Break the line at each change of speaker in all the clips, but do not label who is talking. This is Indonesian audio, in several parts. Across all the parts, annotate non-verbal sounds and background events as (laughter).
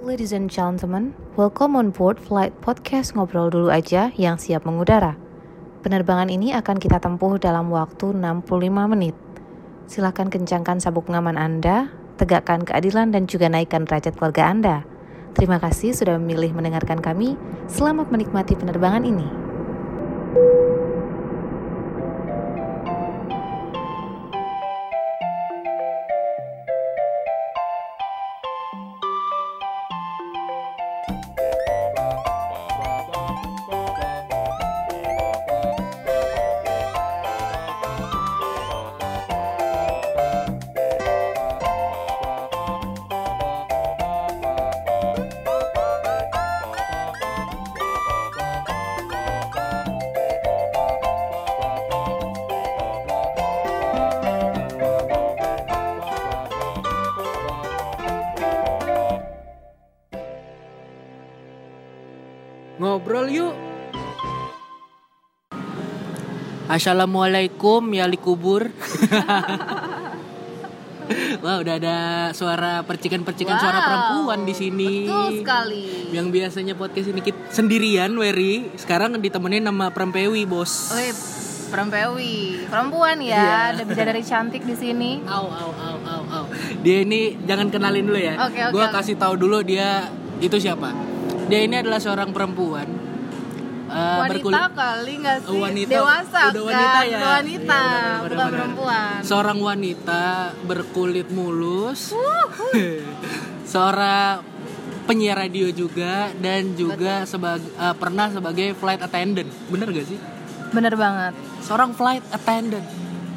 Ladies and gentlemen, welcome on board flight podcast Ngobrol Dulu Aja yang siap mengudara. Penerbangan ini akan kita tempuh dalam waktu 65 menit. Silahkan kencangkan sabuk pengaman Anda, tegakkan keadilan dan juga naikkan derajat keluarga Anda. Terima kasih sudah memilih mendengarkan kami. Selamat menikmati penerbangan ini.
Ngobrol yuk. Assalamualaikum ya likubur.
(laughs)
Wah udah ada suara percikan-percikan suara
Wow,
perempuan di sini.
betul sekali.
Yang biasanya podcast ini kita sendirian, Wery. Sekarang ditemenin sama Prempewi, bos.
Wih, perempewi, perempuan
Iya.
ya, ada bidadari cantik di sini.
Au, au, au, au, au. Dia ini jangan kenalin dulu ya.
Oke, oke,
Gua
oke.
kasih tahu dulu dia itu siapa. Dia ini adalah seorang perempuan. eh,
Wanita
berkulit-
kali nggak sih?
Wanita,
Dewasa
udah wanita
kan?
ya.
Udah wanita,
Iya, benar, benar,
bukan
benar.
perempuan.
Seorang wanita berkulit mulus. (laughs) Seorang penyiar radio juga dan juga sebagai pernah sebagai flight attendant. Bener gak sih?
Bener banget.
Seorang flight attendant.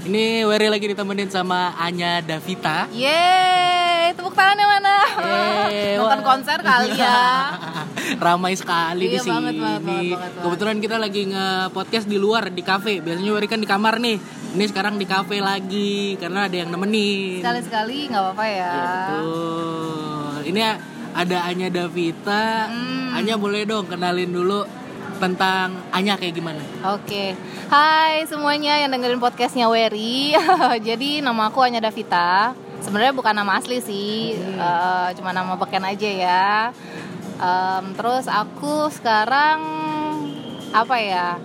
Ini Wery lagi ditemenin sama Anya Davita.
Yeay, tepuk tangannya mana?
Eh,
Nonton
wah.
konser kali ya.
(laughs) Ramai sekali di
Iya,
sini.
banget, banget, banget, banget, banget.
Kebetulan kita lagi nge-podcast di luar di kafe. Biasanya Wery kan di kamar nih. Ini sekarang di kafe lagi karena ada yang nemenin.
Sekali-sekali nggak apa-apa ya.
Iya, betul. Ini ada Anya Davita.
Hmm.
Anya boleh dong kenalin dulu tentang Anya kayak gimana?
Oke, hai semuanya yang dengerin podcastnya Wery. (laughs) Jadi nama aku Anya Davita. Sebenarnya bukan nama asli sih, eh, cuma nama beken aja ya. Em, terus aku sekarang apa ya?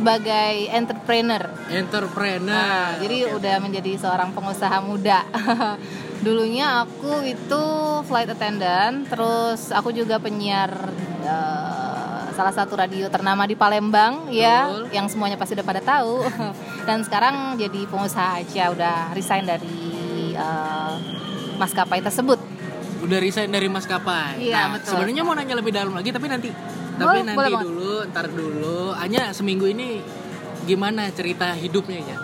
Sebagai entrepreneur.
Entrepreneur.
Jadi udah menjadi seorang pengusaha muda. (laughs) Dulunya aku itu flight attendant, terus aku juga penyiar eh, salah satu radio ternama di Palembang ya,
Betul.
yang semuanya pasti udah pada tahu. (laughs) Dan sekarang jadi pengusaha aja, udah resign dari eh, maskapai tersebut.
udah resign dari maskapai.
Iya,
Nah,
betul.
Sebenarnya mau nanya lebih dalam lagi tapi nanti.
Boleh,
tapi nanti
boleh banget.
dulu, ntar dulu. Anya seminggu ini gimana cerita hidupnya ya?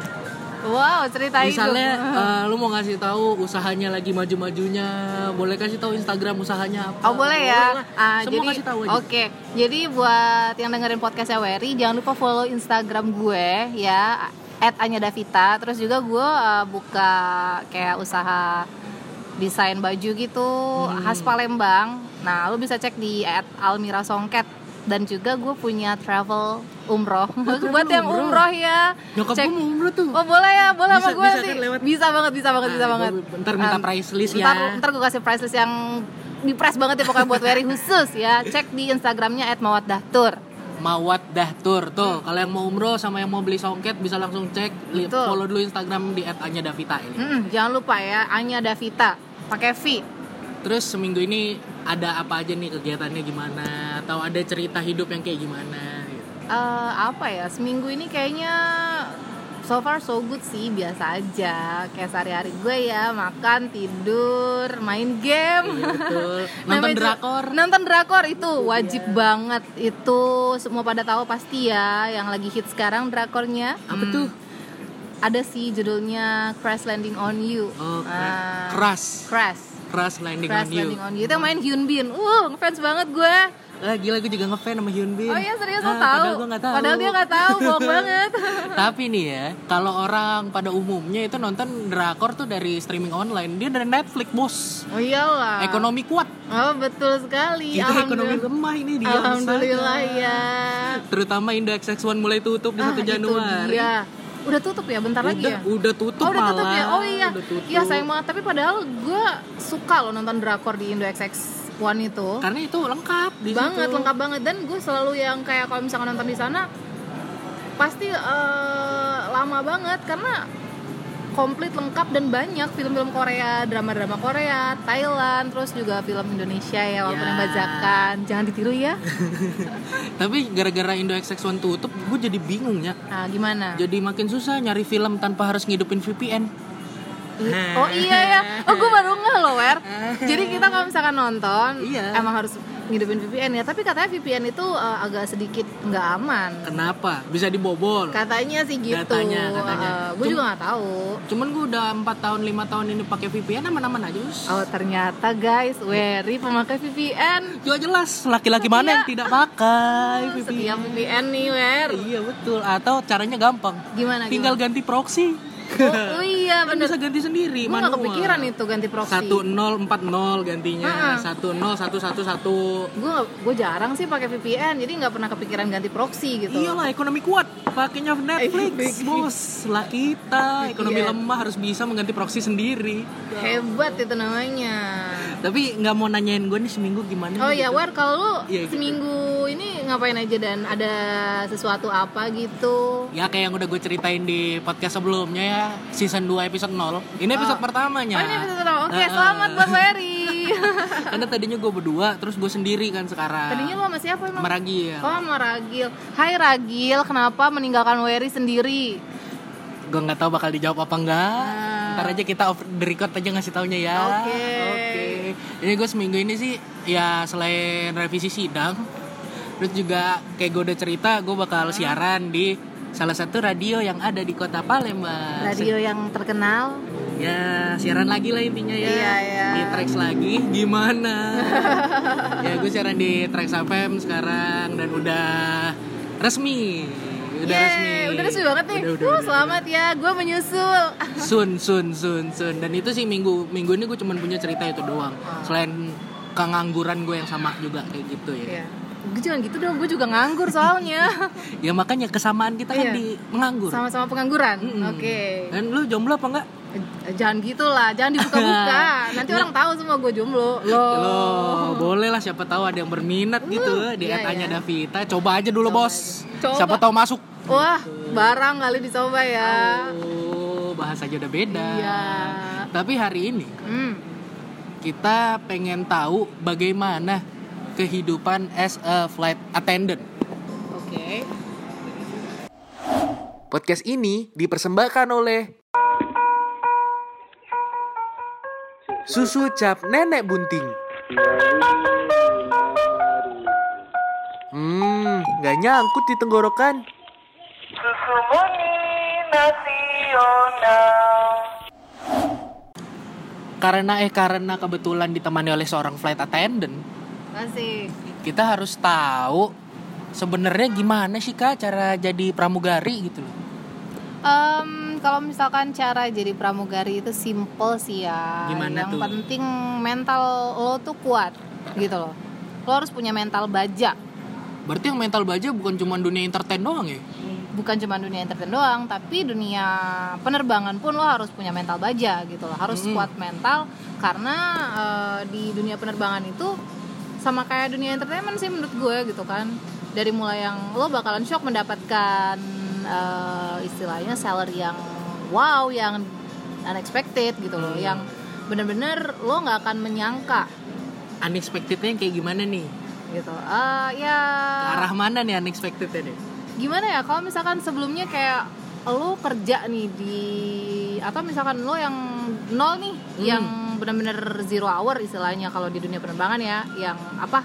Wow, cerita
Misalnya
hidup.
eh, lu mau ngasih tahu usahanya lagi maju-majunya, boleh kasih tahu Instagram usahanya apa?
Oh boleh ya.
lah.
Ah,
Semua
jadi
kasih tahu aja.
oke. Jadi buat yang dengerin podcastnya Wery, jangan lupa follow Instagram gue ya @anya_davita. Terus juga gue eh, buka kayak usaha desain baju gitu
Hmm.
khas Palembang. Nah, lu bisa cek di @almira songket dan juga gue punya travel umroh. (laughs) buat yang
Oh, umroh.
umroh ya.
Nyokap
cek-
gua mau umroh tuh.
Oh boleh ya, boleh
Bisa-
sama gue
bisa
sih.
kan lewat-
Bisa banget, bisa banget, bisa
Ah,
banget.
gua ntar minta
Ah,
price list ya.
Ntar, ntar gue kasih price list yang di press banget ya pokoknya buat (laughs) Wery khusus ya. Cek di Instagramnya @mawadahtur.
Mawat Dahtur
Hmm.
tuh. Kalau yang mau umroh sama yang mau beli songket bisa langsung cek, lihat
Betul.
follow dulu Instagram di @anya_davita ini.
Mm-mm, jangan lupa ya, Anya Davita pakai V.
Terus seminggu ini ada apa aja nih kegiatannya gimana? Atau ada cerita hidup yang kayak gimana? gitu.
(laughs) Eh, apa ya seminggu ini kayaknya so far so good sih biasa aja kayak sehari-hari gue ya makan tidur main game (laughs)
Iya, betul. Nonton
Namanya juga-
drakor. Iya.
nonton drakor itu wajib banget itu semua pada tahu pasti ya yang lagi hit sekarang drakornya
Apa tuh?
ada sih judulnya Crash Landing on You
Oh,
Ah,
keras.
Crash
Keras landing
Crash
on you.
Landing on You itu yang main Hyun Bin uh ngefans banget gue
Ah, gila gue juga ngefans sama Hyun Bin.
oh iya serius
Ah,
lo tahu
Padahal gue nggak tahu.
padahal dia nggak tahu
(laughs)
bohong banget
Tapi nih ya, kalau orang pada umumnya itu nonton drakor tuh dari streaming online, dia dari Netflix, Bos.
oh iyalah
Ekonomi kuat.
oh betul sekali
Kita ekonomi
Iya, alhamdulillah
lemah ini dia.
alhamdulillah
misalnya.
ya
Terutama indeks seksual mulai tutup di
Ah,
1
itu
Januari.
dia. udah tutup ya bentar lagi ya
Udah, udah tutup
Oh udah
malah.
tutup ya? Oh iya.
Udah tutup.
Iya sayang banget. Tapi padahal gue suka loh nonton drakor di Indo XX One itu
Karena itu lengkap di
banget
situ.
lengkap banget dan gue selalu yang kayak kalau misalkan nonton di sana pasti eh, lama banget karena komplit lengkap dan banyak film-film Korea, drama-drama Korea, Thailand, terus juga film Indonesia ya walaupun
Ya.
yang bajakan. Jangan ditiru ya.
(laughs) Tapi gara-gara Indo XX1 tutup, gue jadi bingung ya.
Nah, gimana?
Jadi makin susah nyari film tanpa harus ngidupin VPN.
I- Oh iya ya. Oh gue baru ngeh loh, Wer. Jadi kita kalau misalkan nonton
Iya.
emang harus ngidupin VPN ya, tapi katanya VPN itu eh, agak sedikit nggak aman.
Kenapa? Bisa dibobol.
Katanya sih gitu. Eh,
Katanya, katanya.
gue
Cum-
juga nggak tahu.
Cuman gue udah 4 tahun, 5 tahun ini pakai VPN aman-aman aja. Us.
Oh ternyata guys, Wery pemakai VPN
Ya jelas, laki-laki mana yang
Iya.
tidak
(laughs)
pakai VPN?
Setia VPN nih Wer
Iya betul, atau caranya gampang.
Gimana?
Tinggal ganti proxy.
gimana? Oh, oh iya
Kan
bener
bisa ganti sendiri,
Gue
manual.
gak kepikiran itu ganti proxy
1040 gantinya,
Ha-ha.
10111.
Gue gue jarang sih pakai VPN, jadi nggak pernah kepikiran ganti proxy gitu
Iyalah ekonomi kuat, pakainya Netflix, bos. Lah kita ekonomi
Iya.
lemah harus bisa mengganti proxy sendiri.
Hebat itu namanya
Tapi nggak mau nanyain gue nih seminggu gimana?
Oh iya,
gitu.
Wer kalau lu
Iya, gitu.
seminggu ini ngapain aja dan ada sesuatu apa gitu
Ya kayak yang udah gue ceritain di podcast sebelumnya ya Season 2 episode 0 Ini episode pertamanya
Oh ini bisa tahu. Oke,
Heeh.
selamat buat Wery
(laughs) Karena tadinya gue berdua, terus gue sendiri kan sekarang
Tadinya lu sama siapa emang?
Meragi ya
Oh sama Ragil Hai Ragil, kenapa meninggalkan Wery sendiri?
Gue nggak tahu bakal dijawab apa enggak Ntar aja kita off the record aja ngasih taunya ya
Ah. Oke.
Ini gue seminggu ini sih ya selain revisi sidang Terus juga kayak gue udah cerita gue
Ah.
bakal siaran di salah satu radio yang ada di kota Palembang
Radio yang terkenal
Ya, siaran lagi lah intinya ya.
Iya, iya.
Di Trax lagi gimana?
(laughs)
ya, gue siaran di Trax FM sekarang dan udah resmi. Udah
Yeay,
resmi.
Udah resmi banget nih
Udah, udah,
Wuh,
udah.
Selamat ya, gue menyusul Ah,
Sun, sun, sun, sun. Dan itu sih minggu minggu ini gue cuman punya cerita itu doang.
Ah.
Selain kengangguran gue yang sama juga kayak gitu
Iya.
ya.
Gue jangan gitu dong, gue juga nganggur soalnya
Ya makanya kesamaan kita
Iya.
kan di menganggur.
Sama-sama pengangguran?
Mm-mm. Eh?
Oke
Dan lu jomblo apa enggak?
Eh, Jangan gitu lah, jangan
(laughs)
dibuka-buka Nanti orang tahu semua gue jomblo Loh
Loh, boleh lah siapa tahu ada yang berminat gitu
Oh.
di
iya,
katanya
iya.
Davita. Coba aja dulu, Bos.
aja. Coba.
Siapa tahu masuk.
Wah, barang kali dicoba ya
Oh, bahasanya udah beda.
Iya
Tapi hari ini
hmm.
kita pengen tahu bagaimana kehidupan as a flight attendant.
Oke
Podcast ini dipersembahkan oleh Susu Cap Nenek Bunting. Hmm, nggak nyangkut di tenggorokan. Karena eh karena kebetulan ditemani oleh seorang flight attendant,
Masih
kita harus tahu sebenarnya gimana sih kak cara jadi pramugari gitu loh.
Em, kalau misalkan cara jadi pramugari itu simple sih ya.
Gimana
Yang
tuh?
penting mental lo tuh kuat gitu loh. Lo harus punya mental baja.
Berarti yang mental baja bukan cuma dunia entertain doang ya?
Bukan cuma dunia entertain doang, tapi dunia penerbangan pun lo harus punya mental baja gitu loh. Harus kuat mental karena eh, di dunia penerbangan itu sama kayak dunia entertainment sih menurut gue gitu kan. Dari mulai yang lo bakalan shock mendapatkan eh, istilahnya salary yang wow, yang unexpected gitu loh yang bener-bener lo nggak akan menyangka
Unexpectednya yang kayak gimana nih?
gitu Ah, ya
Arah mana nih unexpectednya nih?
gimana ya kalau misalkan sebelumnya kayak lo kerja nih di atau misalkan lo yang nol nih yang bener-bener zero hour istilahnya kalau di dunia penerbangan ya yang apa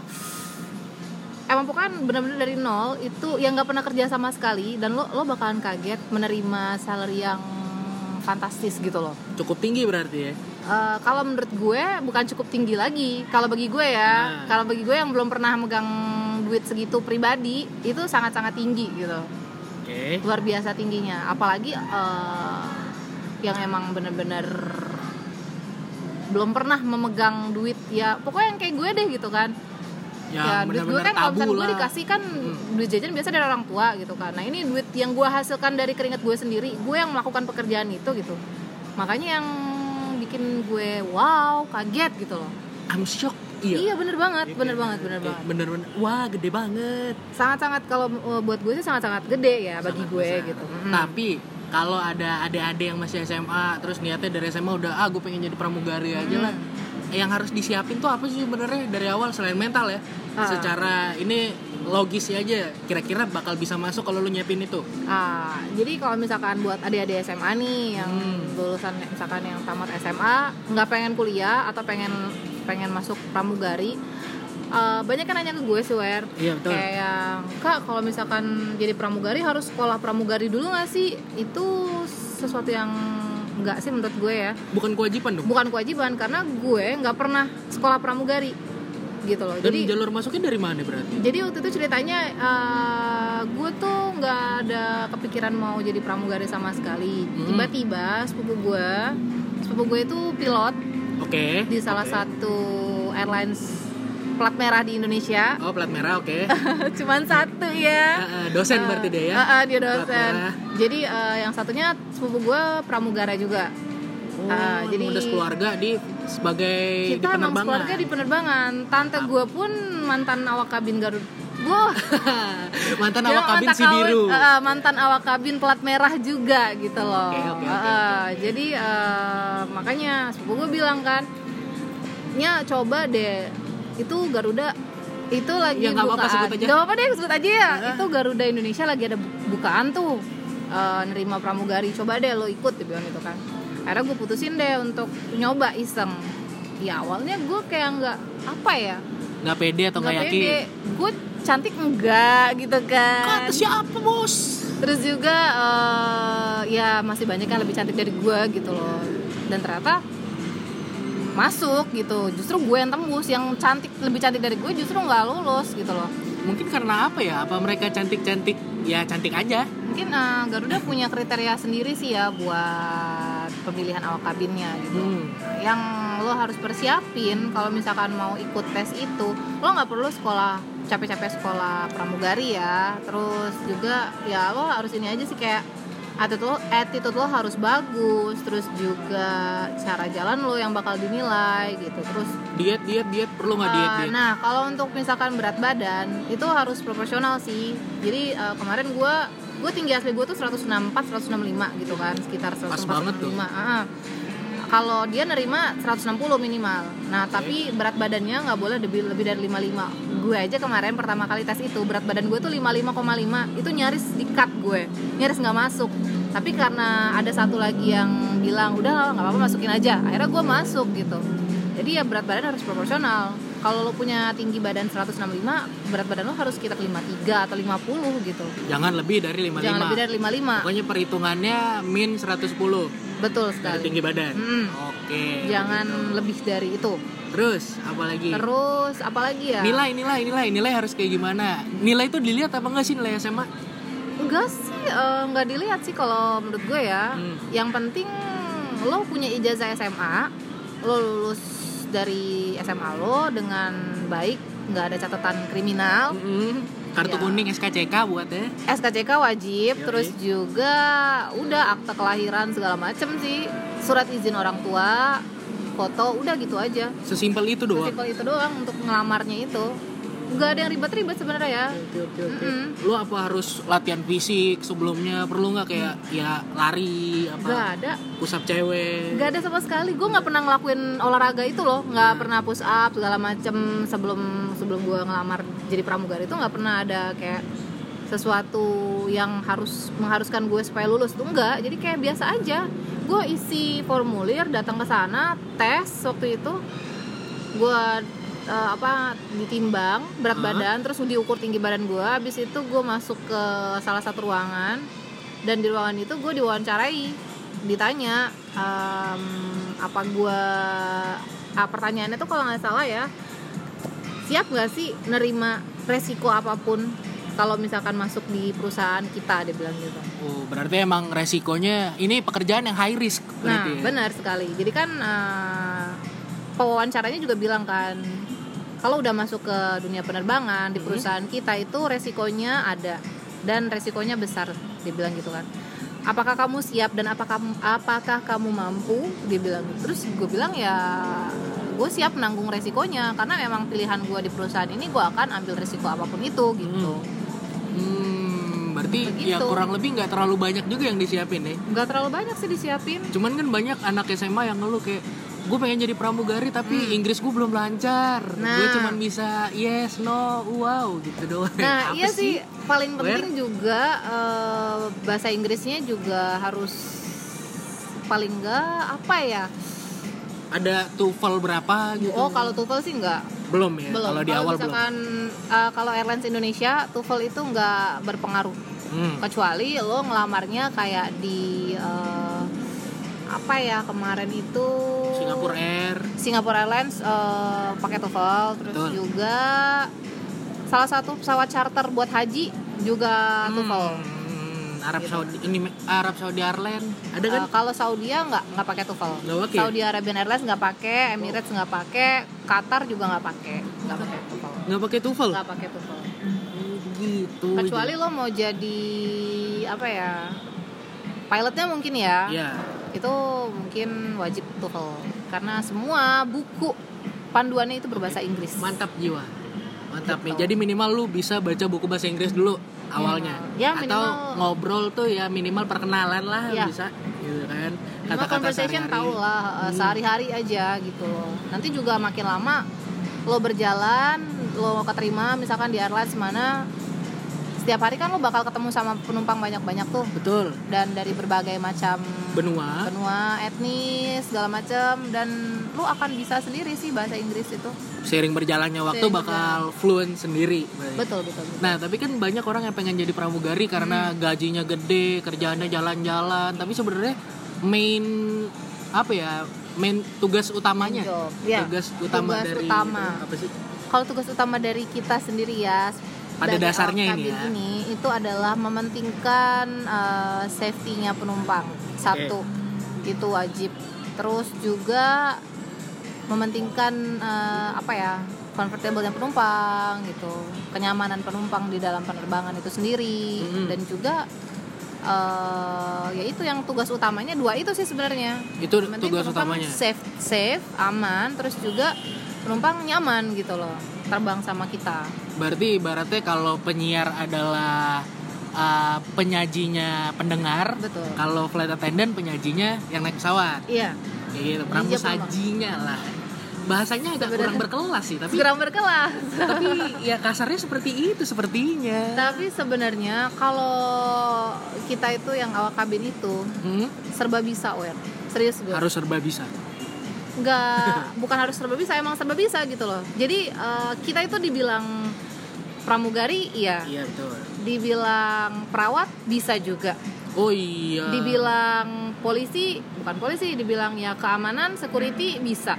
emang bukan bener-bener dari nol itu yang nggak pernah kerja sama sekali dan lo lo bakalan kaget menerima salary yang fantastis gitu loh
Cukup tinggi berarti ya?
Eh, kalau menurut gue bukan cukup tinggi lagi kalau bagi gue ya
Nah.
kalau bagi gue yang belum pernah megang duit segitu pribadi itu sangat sangat tinggi gitu
Oke.
luar biasa tingginya apalagi eh, yang emang bener-bener belum pernah memegang duit ya pokoknya yang kayak gue deh gitu kan ya, duit gue kan kalau misalnya gue dikasih kan duit jajan biasa dari orang tua gitu kan nah ini duit yang gue hasilkan dari keringat gue sendiri gue yang melakukan pekerjaan itu gitu makanya yang bikin gue wow kaget gitu loh
I'm shocked. Iya.
Iya bener banget, bener banget, bener banget.
Bener-bener, wah gede banget.
Sangat-sangat kalau uh, buat gue sih sangat-sangat gede ya bagi gue
Besar.
gitu. Mm.
Tapi kalau ada adik-adik yang masih SMA terus niatnya dari SMA udah ah gue pengen jadi pramugari aja lah. Yang harus disiapin tuh apa sih sebenarnya dari awal selain mental ya?
Ah.
Secara ini logis aja kira-kira bakal bisa masuk kalau lu nyiapin itu.
Ah, jadi kalau misalkan buat adik-adik SMA nih yang
Hmm.
lulusan misalkan yang tamat SMA nggak pengen kuliah atau pengen pengen masuk pramugari eh, banyak kan nanya ke gue sih Wer
Iya, betul.
kayak yang, kak kalau misalkan jadi pramugari harus sekolah pramugari dulu nggak sih itu sesuatu yang nggak sih menurut gue ya
Bukan kewajiban dong.
bukan kewajiban karena gue nggak pernah sekolah pramugari gitu loh
Dan
jadi
jalur masuknya dari mana berarti?
jadi waktu itu ceritanya eh, gue tuh nggak ada kepikiran mau jadi pramugari sama sekali.
Hmm.
Tiba-tiba sepupu gue, sepupu gue itu pilot
Oke.
di salah satu airlines plat merah di Indonesia. (laughs)
Oh, plat merah oke.
Cuman satu ya.
Ah, ah, dosen berarti dia ya.
Ah, ah, dia
Plat
dosen.
merah.
Jadi eh, yang satunya sepupu gue pramugara juga. Ah,
jadi
jadi-
udah sekeluarga di sebagai di
Kita emang
penerbangan.
keluarga di penerbangan. Tante gue pun mantan awak kabin Garut. Wah.
(laughs) (laughs) Mantan
Dia
awak kabin
Ya, mantan
si
kawin-
biru.
eh, eh, mantan awak kabin pelat merah juga gitu loh.
Oke, oke, oke,
Eh, eh, Jadi eh, makanya sepupu gue bilang kan, nya coba deh itu Garuda itu lagi
Ya, nggak apa-apa,
bukaan.
sebut aja.
Nggak apa-apa deh sebut aja ya. Itu Garuda Indonesia lagi ada bu- bukaan tuh eh, nerima pramugari. Coba deh lo ikut dia bilang gitu kan. Akhirnya gue putusin deh untuk nyoba iseng. Ya awalnya gue kayak nggak apa ya
Nggak pede atau nggak
nggak
yakin?
pede gue cantik enggak gitu kan
Kata siapa bos?
terus juga eh, ya masih banyak yang lebih cantik dari gue gitu loh dan ternyata masuk gitu justru gue yang tembus yang cantik lebih cantik dari gue justru nggak lulus gitu loh
Mungkin karena apa ya? Apa mereka cantik-cantik? Ya cantik aja.
mungkin eh, Garuda punya kriteria sendiri sih ya buat pemilihan awak kabinnya gitu
Hmm.
yang lo harus persiapin kalau misalkan mau ikut tes itu lo nggak perlu sekolah capek-capek sekolah pramugari ya terus juga ya lo harus ini aja sih kayak attitude lo attitude lo harus bagus terus juga cara jalan lo yang bakal dinilai gitu terus
Diet, diet, diet. Perlu nggak diet,
eh,
diet?
nah kalau untuk misalkan berat badan itu harus proporsional sih jadi eh, kemarin gue gue tinggi asli gue tuh 164 165 gitu kan sekitar 165
Pas banget tuh.
Ah, ah. kalau dia nerima 160 minimal nah tapi berat badannya nggak boleh lebih lebih dari 55 gue aja kemarin pertama kali tes itu berat badan gue tuh 55,5 itu nyaris di cut gue nyaris nggak masuk tapi karena ada satu lagi yang bilang udah nggak apa-apa masukin aja akhirnya gue masuk gitu jadi ya berat badan harus proporsional kalau lo punya tinggi badan 165 berat badan lo harus sekitar 53 atau 50 gitu
Jangan lebih dari 55.
jangan lebih dari 55
Pokoknya perhitungannya min 110
betul
dari
sekali
tinggi badan.
Mm.
Oke.
jangan lebih dari itu
Terus apalagi?
terus apalagi ya
Nilai, nilai, nilai, nilai harus kayak gimana? Nilai itu dilihat apa enggak sih nilai SMA?
enggak sih eh, nggak dilihat sih kalau menurut gue ya
Hmm.
yang penting lo punya ijazah SMA lo lulus dari SMA lo dengan baik nggak ada catatan kriminal
Mm-mm. Kartu
Iya.
kuning SKCK buat ya.
SKCK wajib
Yoi.
terus juga udah akte kelahiran segala macem sih surat izin orang tua foto udah gitu aja
Sesimpel itu doang.
Sesimpel itu doang untuk ngelamarnya itu nggak ada yang ribet-ribet sebenarnya ya Mm-mm.
Lu apa harus latihan fisik sebelumnya? Perlu nggak kayak ya lari
nggak
apa?
ada
Pusap cewek.
nggak ada sama sekali gue nggak pernah ngelakuin olahraga itu loh nggak pernah push up segala macem sebelum sebelum gue ngelamar jadi pramugari itu nggak pernah ada kayak sesuatu yang harus mengharuskan gue supaya lulus tuh enggak jadi kayak biasa aja gue isi formulir datang ke sana tes waktu itu gue eh, apa ditimbang berat
Hah?
badan terus diukur tinggi badan gue habis itu gue masuk ke salah satu ruangan dan di ruangan itu gue diwawancarai ditanya em, apa gue ah, pertanyaannya tuh kalau nggak salah ya siap nggak sih nerima resiko apapun kalau misalkan masuk di perusahaan kita dia bilang gitu
Oh, berarti emang resikonya ini pekerjaan yang high risk
Nah,
berarti. ya?
benar sekali. Jadi kan eh, pewawancaranya juga bilang kan kalau udah masuk ke dunia penerbangan di
Mm-hmm.
perusahaan kita itu resikonya ada dan resikonya besar, dia bilang gitu kan. Apakah kamu gitu. siap dan apakah apakah kamu mampu? Dia bilang. Terus gue bilang ya gue gue siap nanggung resikonya karena memang pilihan gue di perusahaan ini gue akan ambil resiko apapun itu gitu
Hmm, berarti ya
Begitu.
kurang lebih nggak terlalu banyak juga yang disiapin nih.
nggak terlalu banyak sih disiapin
Cuman kan banyak anak SMA yang ngeluh kayak gue pengen jadi pramugari tapi Inggris gue belum lancar. Gue
Hmm. Nah.
cuman bisa yes, no, wow gitu doang.
Nah,
Apa
iya sih paling
Where?
penting juga eh, bahasa Inggrisnya juga harus paling enggak apa ya?
Ada TOEFL berapa gitu?
Oh, kalau TOEFL sih enggak.
belum ya.
belum.
Kalau di awal belum.
misalkan eh, kalau airlines Indonesia TOEFL itu enggak berpengaruh.
Hmm.
Kecuali lo ngelamarnya kayak di eh, apa ya kemarin itu
Singapura Air.
Singapore Airlines eh, pakai TOEFL terus
Betul.
juga salah satu pesawat charter buat haji juga TOEFL.
Hmm, Arab
Gitu.
Saudi ini Arab Saudi Airlines ada kan?
Eh, kalau Saudi nggak nggak pakai TOEFL.
Nggak pakai?
Saudi Arabian Airlines nggak pakai, Emirates nggak pakai, Qatar juga nggak pakai, nggak pakai TOEFL.
Nggak pakai TOEFL.
Nggak pakai TOEFL.
Oh, gitu.
Kecuali lo mau jadi apa ya? Pilotnya mungkin ya.
ya.
Itu mungkin wajib TOEFL karena semua buku panduannya itu berbahasa Inggris.
mantap jiwa mantap nih
Gitu.
jadi minimal lu bisa baca buku bahasa Inggris dulu awalnya
Ya,
atau
minimal-
ngobrol tuh ya minimal perkenalan lah
Ya.
bisa gitu kan
Minimal conversation
sehari-hari. Hmm.
tau lah eh, sehari-hari aja gitu loh. Nanti juga makin lama lo berjalan, lo keterima misalkan di airlines mana setiap hari kan lo bakal ketemu sama penumpang banyak-banyak tuh
betul
dan dari berbagai macam
benua
benua, etnis, segala macam dan lo akan bisa sendiri sih bahasa Inggris itu.
sering berjalannya waktu
Sering
bakal fluent sendiri
Betul, betul. betul.
Nah, tapi kan banyak orang yang pengen jadi pramugari
Hmm.
karena gajinya gede, kerjaannya jalan-jalan, tapi sebenarnya main apa ya? Main tugas utamanya.
Job. Ya.
Tugas utama
Tugas
dari
utama.
apa sih?
Kalau tugas utama dari kita sendiri ya
Pada
dari
dasarnya
awak
ini
kabin
ya.
ini itu adalah mementingkan eh, safety-nya penumpang. Satu. Itu wajib. Terus juga mementingkan eh, apa ya? comfortable-nya penumpang gitu. Kenyamanan penumpang di dalam penerbangan itu sendiri
Mhm.
dan juga eh, ya itu yang tugas utamanya dua itu sih sebenarnya
Itu
yang penting kan
tugas
penumpang
utamanya.
safe safe aman terus juga penumpang nyaman gitu loh terbang sama kita
Berarti ibaratnya kalau penyiar adalah uh, penyajinya pendengar,
betul
kalau flight attendant penyajinya yang naik pesawat.
iya
Ya gitu, pramusajinya lah. Bahasanya agak kurang berkelas sih,
(laughs)
tapi
kurang berkelas
tapi ya kasarnya seperti itu sepertinya.
tapi sebenarnya kalau kita itu yang awak kabin itu
Hmm?
serba bisa wer serius gue
Harus serba bisa.
Iya, nggak
(laughs)
bukan harus serba bisa emang serba bisa gitu loh jadi eh, kita itu dibilang pramugari iya
Iya betul.
dibilang perawat bisa juga
Oh iya.
dibilang polisi bukan polisi dibilang ya keamanan security bisa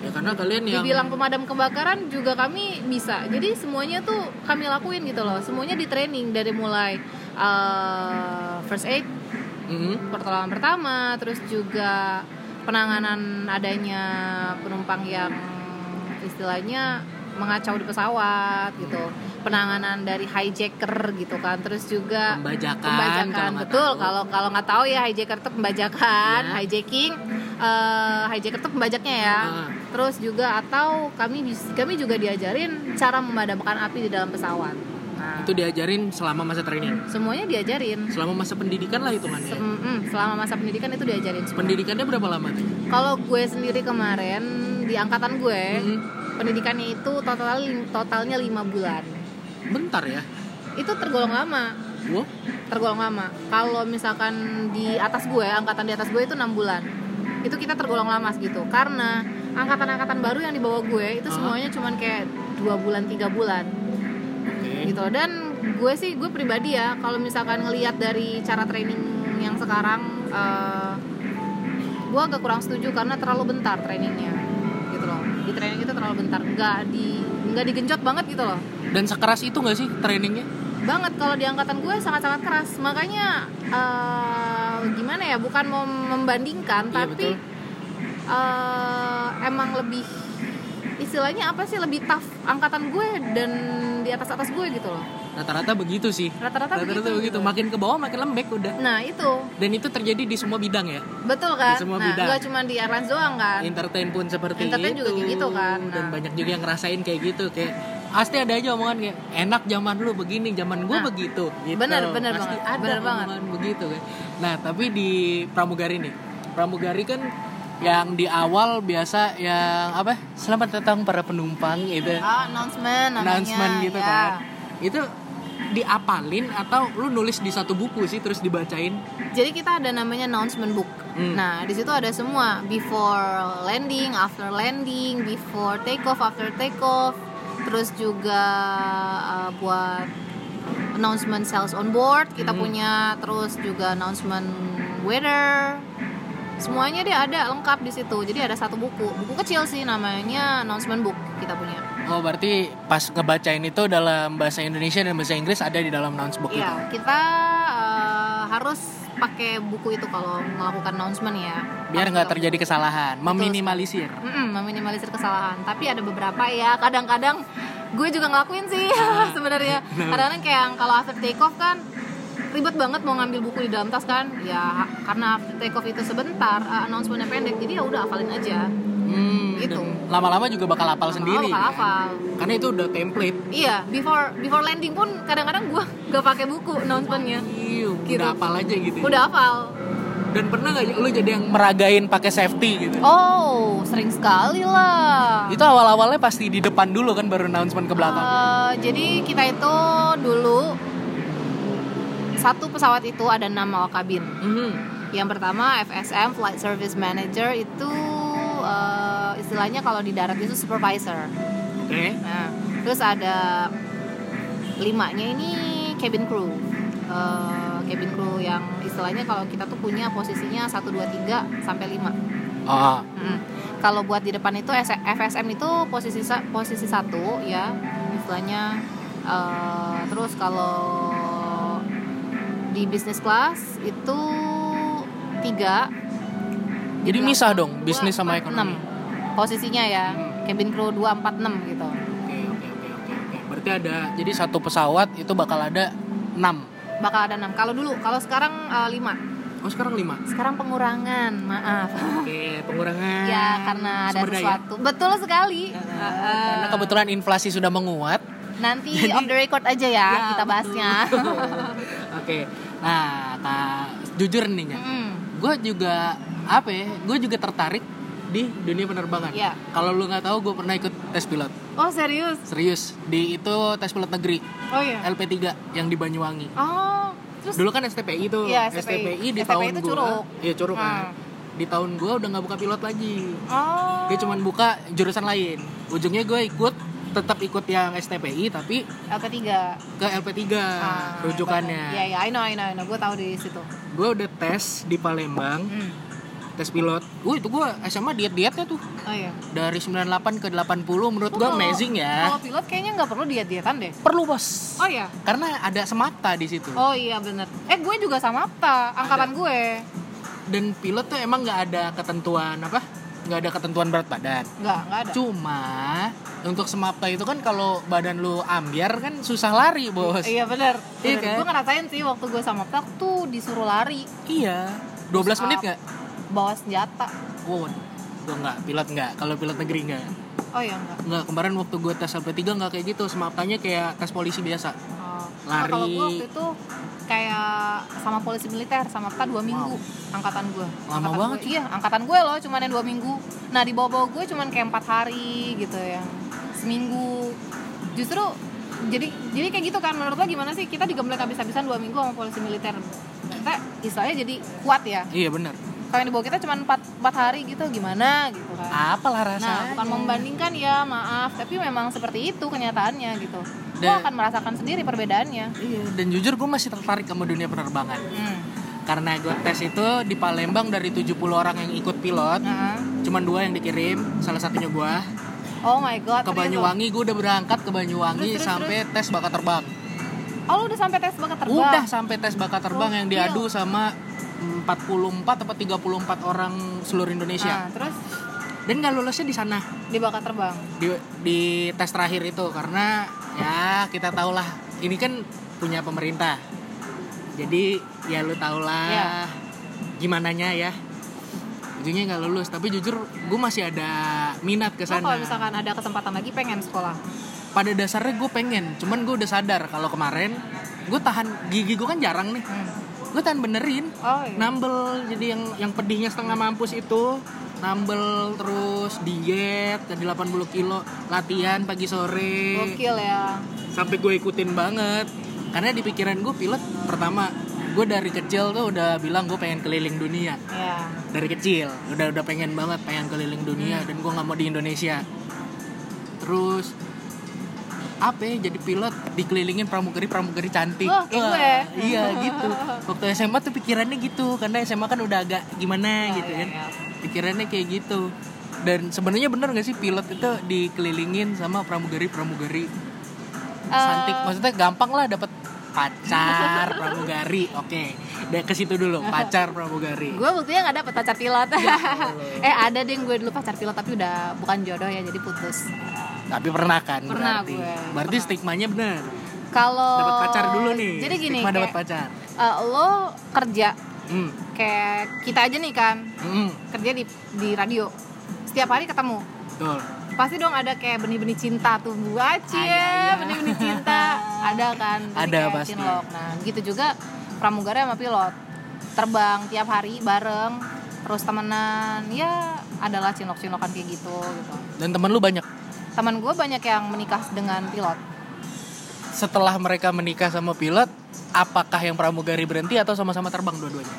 Ya karena kalian yang
dibilang pemadam kebakaran juga kami bisa jadi semuanya tuh kami lakuin gitu loh semuanya di training dari mulai eh, first aid
Hmm,
pertolongan pertama terus juga penanganan adanya penumpang yang istilahnya mengacau di pesawat gitu penanganan dari hijacker gitu kan terus juga
pembajakan,
pembajakan
kalau nggak
betul
tahu.
kalau kalau nggak tahu ya hijacker itu pembajakan
Ya.
hijacking eh, hijacker itu pembajaknya ya
Ah.
terus juga atau kami bis- kami juga diajarin cara memadamkan api di dalam pesawat nah,
itu diajarin selama masa training,
semuanya diajarin
selama masa pendidikan lah hitungannya.
Sem- mm, selama masa pendidikan itu diajarin semua.
Pendidikannya berapa lama tuh?
kalau gue sendiri kemarin di angkatan gue
Hmm,
pendidikannya itu total totalnya lima bulan
bentar ya.
itu tergolong lama
Wow,
tergolong lama. Kalau misalkan di atas gue, angkatan di atas gue itu enam bulan. Itu kita tergolong lama segitu. Karena angkatan-angkatan baru yang dibawa gue itu
Ah.
semuanya cuman kayak dua bulan, tiga bulan
oke.
gitu. Dan gue sih gue pribadi ya, kalau misalkan ngelihat dari cara training yang sekarang eh, gue agak kurang setuju karena terlalu bentar trainingnya gitu loh. Di training itu terlalu bentar, nggak di nggak digenjot banget gitu loh
Dan sekeras itu nggak sih trainingnya?
banget kalau di angkatan gue sangat-sangat keras makanya eh, gimana ya bukan mau membandingkan
Iya,
tapi
betul.
eh, emang lebih istilahnya apa sih lebih tough angkatan gue dan di atas atas gue gitu loh
rata-rata begitu sih
Rata-rata begitu, gitu.
makin ke bawah makin lembek udah
Nah itu
dan itu terjadi di semua bidang ya
betul kan?
Di semua
nah
bidang.
nggak cuma di airlines doang kan?
entertain pun seperti
Entertain
itu
juga kayak gitu kan,
dan
nah.
banyak juga yang ngerasain kayak gitu kayak pasti ada aja omongan kayak enak zaman lu begini zaman gua
Nah,
begitu gitu.
bener, bener
pasti
banget,
ada
bener banget.
omongan begitu kan nah tapi di pramugari nih pramugari kan yang di awal biasa yang apa selamat datang para penumpang gitu
Ah, announcement namanya.
announcement gitu
ya.
kan itu diapalin atau lu nulis di satu buku sih terus dibacain
Jadi kita ada namanya announcement book.
Hmm.
Nah, di situ ada semua before landing, after landing, before take off, after take off, terus juga uh, buat announcement sales on board
Hmm.
kita punya, terus juga announcement weather. Semuanya dia ada lengkap di situ. Jadi ada satu buku, buku kecil sih namanya announcement book kita punya.
oh berarti pas ngebacain itu dalam bahasa Indonesia dan bahasa Inggris ada di dalam announcement book itu
Iya, kita uh, harus pakai buku itu kalau melakukan announcement ya.
biar nggak terjadi kesalahan meminimalisir
Mm-mm, meminimalisir kesalahan. Tapi ada beberapa ya. Kadang-kadang gue juga ngelakuin sih (laughs) sebenarnya. Kadang-kadang kayak yang kalau after take off kan ribet banget mau ngambil buku di dalam tas kan. Ya karena after take off itu sebentar, uh, announcementnya pendek. Jadi ya udah hafalin aja.
Hmm,
Gitu.
dan lama-lama juga bakal hafal
Oh,
sendiri
Bakal
kan?
hafal.
karena itu udah template
Iya, before before landing pun kadang-kadang gue (laughs) gak pakai buku announcementnya.
Iya,
Gitu.
udah hafal aja gitu ya.
Udah hafal.
dan pernah nggak lu jadi yang meragain pakai safety gitu
Oh, sering sekali lah.
itu awal-awalnya pasti di depan dulu kan baru announcement ke belakang
Eh, jadi kita itu dulu satu pesawat itu ada enam awak kabin.
Mhm.
Yang pertama FSM Flight Service Manager itu eh, istilahnya kalau di darat itu supervisor.
oke
Nah, terus ada limanya ini cabin crew. Eh, cabin crew yang istilahnya kalau kita tuh punya posisinya 1 2 3 sampai 5.
Ah,
Mm. Kalau buat di depan itu S- FSM itu posisi sa- posisi satu ya istilahnya. Eh, terus kalau di business class itu tiga. Di
Jadi
belakang
misah dong,
dua,
bisnis sama
empat,
ekonomi.
enam. Posisinya ya cabin crew 246 gitu.
Oke, oke, oke, oke, oke. Berarti ada jadi satu pesawat itu bakal ada 6.
Bakal ada enam. Kalau dulu, kalau sekarang eh, lima.
Oh, sekarang 5.
Sekarang pengurangan, maaf.
Oke, pengurangan.
(laughs) ya karena ada
sumber daya.
sesuatu. Betul sekali. Eh,
Karena kebetulan inflasi sudah menguat.
Nanti off the record aja ya,
Ya,
kita bahasnya. (laughs)
(laughs) Oke. Nah, Kak, jujur nih ya.
Mm.
Gue juga apa ya? Gue juga tertarik di dunia penerbangan.
Iya.
Kalau lu nggak tahu, gue pernah ikut tes pilot.
Oh serius?
Serius, di itu tes pilot negeri
Oh iya.
LP3 yang di Banyuwangi.
Oh terus
Dulu kan STPI tuh.
Iya,
STPI. di
STPI
tahun
itu
gua-
Curug.
Iya, curug
Hmm.
kan. Di tahun gua udah nggak buka pilot lagi.
oh
Gue cuman buka jurusan lain. Ujungnya gue ikut tetap ikut yang STPI tapi
LP tiga
ke LP3 Ah, rujukannya.
Ah, Iya iya, I know I know, I know. gue tahu di situ.
Gue udah tes di Palembang,
Hmm.
tes pilot. Gue itu gue SMA diet-dietnya tuh
Oh iya.
dari 98 ke 80 menurut gue
Kalau-
amazing ya.
Kalau pilot kayaknya nggak Oh. perlu diet dietan deh.
Perlu, Bos.
Oh iya.
Karena ada semata di situ.
Oh iya bener. Eh gue juga sama apa? Angkatan gue.
Dan pilot tuh emang nggak ada ketentuan apa? nggak ada ketentuan berat badan.
Nggak nggak ada.
Cuma untuk semapta itu kan kalau badan lu ambiar kan susah lari, Bos.
Iya bener.
Iya
Bener.
kan?
Gue ngerasain sih waktu gue sama Ptak tuh disuruh lari
Iya. 12 menit
up.
nggak?
bawa senjata.
Wow, gue nggak pilot nggak. Kalau pilot negeri nggak.
Oh iya enggak.
Nggak kemarin waktu gue tes LP3 nggak kayak gitu. Semaptanya kayak tes polisi biasa.
Oh.
Lari.
Kalau gue waktu itu kayak sama polisi militer sama Pta dua minggu angkatan gue.
Lama
Angkatan
banget
gue. Iya, angkatan gue loh cuman yang dua minggu. Nah di bawah-bawah gue cuman kayak empat hari gitu ya, seminggu. Justru jadi jadi kayak gitu kan menurut lo gimana sih kita digembleng habis-habisan dua minggu sama polisi militer? Kita istilahnya jadi kuat ya.
Iya bener.
Kalau yang di bawah kita cuman empat empat hari gitu gimana gitu kan?
Apalah
Nah,
rasanya.
bukan membandingkan ya, maaf, tapi memang seperti itu kenyataannya gitu. Lo
Dan-
akan merasakan sendiri perbedaannya.
Iya. Dan jujur gue masih tertarik sama dunia penerbangan.
Hmm.
Karena gue tes itu di Palembang dari 70 orang yang ikut pilot,
Nah.
cuman dua yang dikirim, salah satunya gue.
Oh my god.
Ke
serius
Banyuwangi gue udah berangkat ke Banyuwangi
Terus, terus,
sampai tes bakat terbang.
lo. Oh, lu udah sampai tes bakat terbang. Oh, iya.
Udah sampai tes bakat terbang yang
Gokil.
diadu sama 44 atau 34 orang seluruh
Nah,
Indonesia.
terus
Dan gak lulusnya di sana
di bakat terbang.
di, di tes terakhir itu karena ya kita tahulah ini kan punya pemerintah. Jadi ya lu tau lah
Iya.
gimana ya. Ujungnya nggak lulus, tapi jujur gue masih ada minat ke
Lo
sana.
kalau misalkan ada kesempatan lagi pengen sekolah.
Pada dasarnya gue pengen, cuman gue udah sadar kalau kemarin gue tahan gigi gue kan jarang nih.
Hmm.
Gue tahan benerin,
Oh iya.
Nah, nambel jadi yang yang pedihnya setengah mampus itu nambel terus diet jadi 80 kilo latihan pagi sore
Gokil ya.
sampai gue ikutin banget karena di pikiran gue pilot pertama gue dari kecil tuh udah bilang gue pengen keliling dunia
Ya.
dari kecil udah udah pengen banget pengen keliling dunia dan gue nggak mau di Indonesia terus apa ya, jadi pilot dikelilingin pramugari pramugari cantik
Wah, kayak gue.
iya gitu waktu SMA tuh pikirannya gitu karena SMA kan udah agak gimana gitu
ya,
kan
ya.
pikirannya kayak gitu dan sebenarnya bener gak sih pilot itu dikelilingin sama pramugari pramugari cantik maksudnya gampang lah dapat pacar pramugari oke deh ke situ dulu pacar pramugari
Gue buktinya nggak dapet pacar pilot.
Ya
(laughs) eh ada deh gue dulu pacar pilot tapi udah bukan jodoh ya jadi putus.
Tapi pernah kan
Pernah
berarti.
gue,
Berarti
pernah.
stigmanya bener.
Kalau
Dapat pacar dulu nih.
Jadi gini,
Stigma dapat
kayak,
pacar.
eh, lo kerja
Hmm.
kayak kita aja nih kan
Hmm.
kerja di di radio setiap hari ketemu
Betul.
pasti dong ada kayak benih-benih cinta tuh buat
Ada, iya.
ya benih-benih
(laughs)
cinta ada kan Pasti
Ada,
kayak
pasti.
cinlok. nah gitu juga pramugara sama pilot terbang tiap hari bareng terus temenan ya adalah cinlok-cinlokan kayak gitu gitu
Dan teman lu banyak
teman gue banyak yang menikah dengan pilot
setelah mereka menikah sama pilot, apakah yang pramugari berhenti atau sama-sama terbang dua-duanya?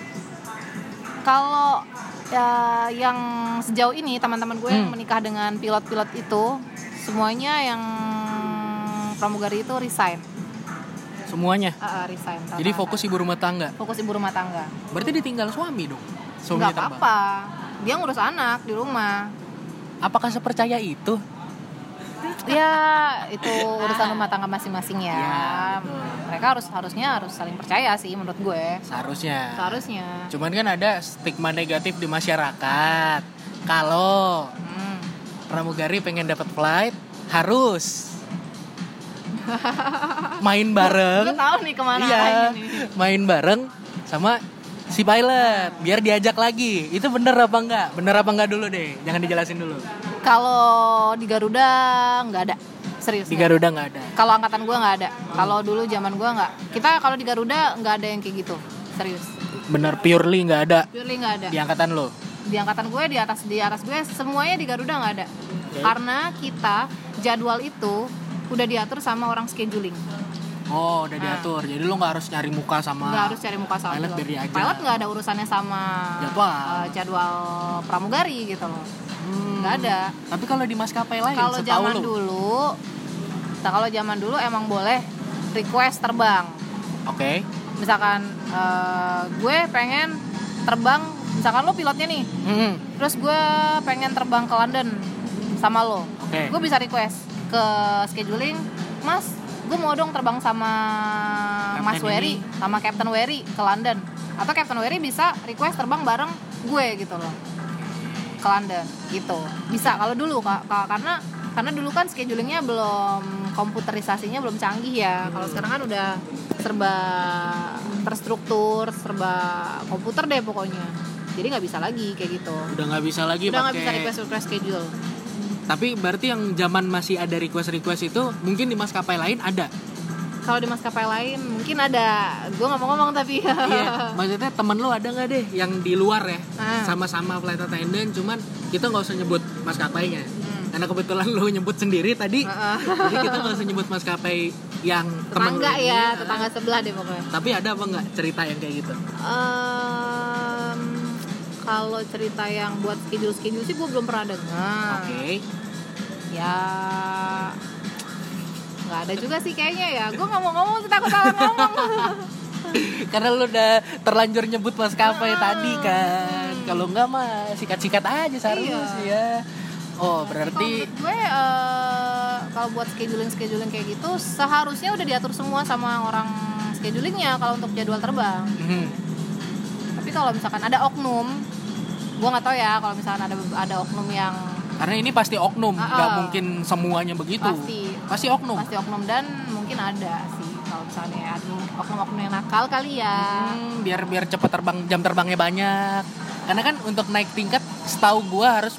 kalau ya, yang sejauh ini teman-teman gue yang
Hmm.
menikah dengan pilot-pilot itu semuanya yang pramugari itu resign
Semuanya.
Ah, ah, resign
Jadi
rata-rata.
fokus ibu rumah tangga.
fokus ibu rumah tangga
Berarti ditinggal suami dong. Suaminya
nggak
terbang.
apa-apa dia ngurus anak di rumah
Apakah sepercaya itu?
ya itu urusan rumah tangga masing-masing ya,
Ya, betul.
mereka harus harusnya harus saling percaya sih menurut gue
Seharusnya.
seharusnya
Cuman kan ada stigma negatif di masyarakat. Kalau
Hmm.
pramugari pengen dapat flight harus main bareng
Gue tahu nih kemana
iya
arahnya nih.
main bareng sama si pilot biar diajak lagi itu bener apa enggak bener apa enggak dulu deh jangan dijelasin dulu
kalau di Garuda nggak ada serius nggak
di
ada.
Garuda nggak ada
kalau angkatan gue nggak ada kalau dulu zaman gue nggak kita kalau di Garuda nggak ada yang kayak gitu serius
bener purely nggak ada
purely nggak ada
di angkatan lo
di angkatan gue di atas di atas gue semuanya di Garuda nggak ada karena kita jadwal itu udah diatur sama orang scheduling
oh udah diatur jadi lo nggak harus nyari muka sama
nggak Nah. harus cari muka sama
Ah. Pilot biar diajar.
pilot nggak ada urusannya sama
Jadwal.
eh, jadwal pramugari gitu loh
Hmm.
nggak ada
tapi kalau di maskapai lain
kalau
setahu
zaman
lo oke
dulu nah kalau zaman dulu emang boleh request terbang misalkan eh, gue pengen terbang misalkan lo pilotnya nih
Mm-mm.
terus gue pengen terbang ke London sama lo
oke
gue bisa request ke scheduling mas gue mau dong terbang sama Mas
Kapten
Wery
ini.
sama Captain Wery ke London atau Captain Wery bisa request terbang bareng gue gitu loh ke London gitu bisa kalau dulu kak Ka- karena karena dulu kan schedulingnya belum komputerisasinya belum canggih ya kalau sekarang kan udah serba terstruktur serba komputer deh pokoknya jadi nggak bisa lagi kayak gitu
udah nggak bisa lagi
udah nggak bisa
pakai
request request schedule
Tapi berarti yang zaman masih ada request-request itu mungkin di maskapai lain ada.
kalau di maskapai lain mungkin ada gue nggak mau ngomong tapi
Iya, maksudnya temen lu ada nggak deh yang di luar ya?
Ah.
Sama-sama flight attendant cuman kita nggak usah nyebut maskapainya.
Hmm.
Karena kebetulan lu nyebut sendiri tadi.
Heeh.
Jadi kita nggak usah nyebut maskapai yang temen
(laughs)
lu
tetangga
ini.
ya tetangga sebelah deh pokoknya
Tapi ada apa nggak cerita yang kayak gitu?
Ah. Em, kalau cerita yang buat schedule schedule sih gue belum pernah dengar
Oke.
ya nggak ada juga sih kayaknya ya gue nggak mau ngomong sih, takut salah
(laughs)
ngomong
Karena lu udah terlanjur nyebut maskapai
Ah.
tadi kan. Kalau nggak mah sikat-sikat aja seharusnya
Iya.
ya. Oh,
kalau
berarti
menurut gue eh, kalau buat scheduling scheduling kayak gitu seharusnya udah diatur semua sama orang schedulingnya kalau untuk jadwal terbang
Mhm.
tapi kalau misalkan ada oknum gue nggak tahu ya kalau misalkan ada ada oknum yang
Karena ini pasti oknum,
Ah,
nggak
ah.
mungkin semuanya begitu.
Pasti.
Pasti oknum.
pasti oknum dan mungkin ada sih kalau misalnya ada oknum-oknum yang nakal kali ya
Hmm, biar biar cepat terbang jam terbangnya banyak. Karena kan untuk naik tingkat setahu gua harus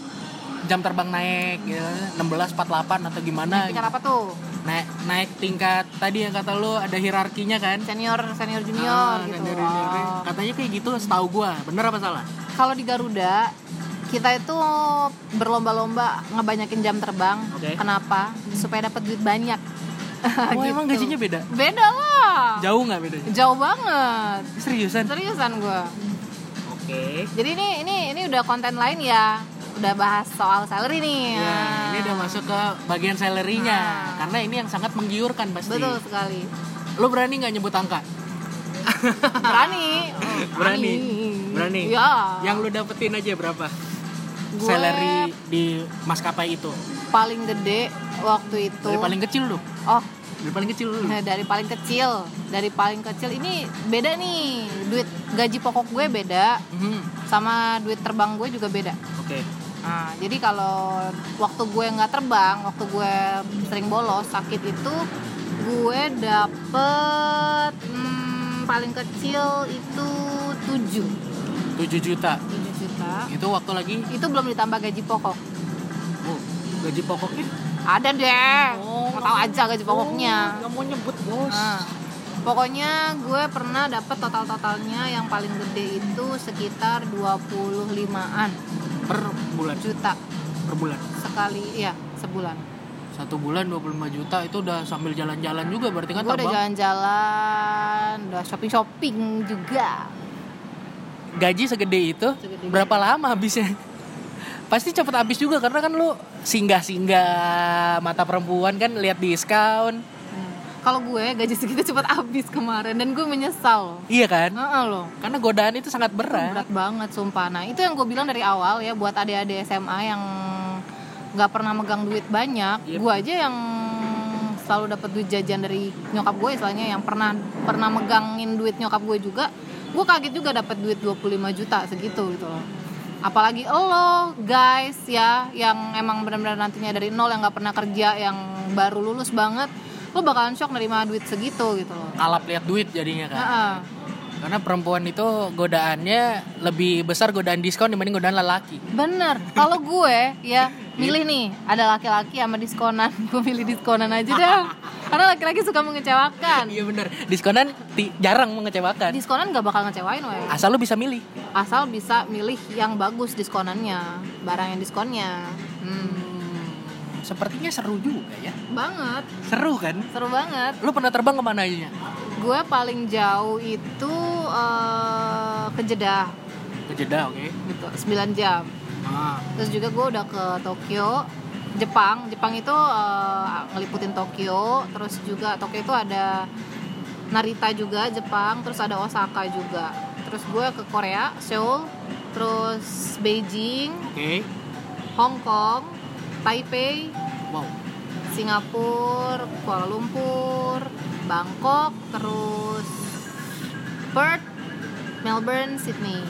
jam terbang naik gitu, 16 48 atau gimana.
tingkat apa tuh
Naik naik tingkat tadi yang kata lu ada hierarkinya kan?
senior senior junior
Ah,
gitu
senior, junior.
Oh.
Katanya kayak gitu setahu gua. Bener apa
(laughs)
salah?
kalau di Garuda kita itu berlomba-lomba ngebanyakin jam terbang
Oke.
kenapa supaya dapat duit banyak (laughs)
Oh,
Gitu.
emang gajinya beda?
beda lah
Jauh nggak bedanya?
jauh banget
Seriusan? Oke.
seriusan gue jadi ini ini ini udah konten lain ya udah bahas soal salary nih Nah,
Ya, ini udah masuk ke bagian salarynya
Ah.
karena ini yang sangat menggiurkan pasti.
betul sekali
Lu berani nggak nyebut angka?
berani Oh,
(laughs) Berani. Berani.
ya
Yang lu dapetin aja berapa?
Gue-
Salary di maskapai itu.
paling gede waktu itu
Dari paling kecil lu.
oh (laughs)
Dari paling kecil lu.
Nah, dari paling kecil, dari paling kecil ini beda nih. Duit gaji pokok gue beda
Mhm,
sama duit terbang gue juga beda.
Oke.
Nah, jadi kalau waktu gue nggak terbang, waktu gue sering bolos sakit itu gue dapet hmm, paling kecil itu 7
7 juta.
7 juta.
Itu waktu lagi
Itu belum ditambah gaji pokok.
oh, gaji pokoknya.
Ada deh.
Oh.
Mau tahu aja gaji pokoknya.
Enggak Oh, mau nyebut, Bos.
Ah, pokoknya gue pernah dapat total-totalnya yang paling gede itu sekitar 25-an
Per bulan,
juta
per bulan.
sekali ya sebulan.
Satu bulan 25 juta itu udah sambil jalan-jalan juga berarti kan
Gue udah
tambah.
jalan-jalan, udah shopping-shopping juga.
Gaji segede itu
Segede
berapa lama habisnya? (laughs) Pasti cepet habis juga karena kan lu singgah-singgah mata perempuan kan lihat diskon.
Hmm. Kalau gue gaji segitu cepet habis kemarin dan gue menyesal.
Iya kan?
Heeh loh.
Karena godaan itu sangat berat.
berat banget sumpah nah itu yang gue bilang dari awal ya buat adik-adik SMA yang nggak pernah megang duit banyak
Yep.
gue aja yang selalu dapat duit jajan dari nyokap gue istilahnya yang pernah pernah megangin duit nyokap gue juga gue kaget juga dapat duit 25 juta segitu gitu loh apalagi lo guys ya yang emang benar-benar nantinya dari nol yang nggak pernah kerja yang baru lulus banget lo bakalan shock nerima duit segitu gitu loh
Kalap lihat duit jadinya kan.
Heeh.
Karena perempuan itu godaannya lebih besar godaan diskon dibanding godaan lelaki.
Bener, kalau gue ya milih nih ada laki-laki sama diskonan, (laughs) gue milih diskonan aja dah. Karena laki-laki suka mengecewakan.
Iya bener. Diskonan ti- jarang mengecewakan.
Diskonan gak bakal ngecewain weh.
Asal lu bisa milih.
Asal bisa milih yang bagus diskonannya, barang yang diskonnya. Hmm,
Sepertinya seru juga ya.
banget,
Seru kan? Ah,
seru banget.
Lu pernah terbang kemana aja?
Gue paling jauh itu eh, ke Jeddah
Ke Jeddah, oke.
gitu, 9 jam.
Ah,
Terus juga gue udah ke Tokyo, Jepang. Jepang itu eh, ngeliputin Tokyo, terus juga Tokyo itu ada Narita juga Jepang, terus ada Osaka juga. Terus gue ke Korea, Seoul, terus Beijing,
Oke.
Hong Kong, Taipei,
Wow.
Singapura, Kuala Lumpur, Bangkok, terus Perth, Melbourne, Sydney.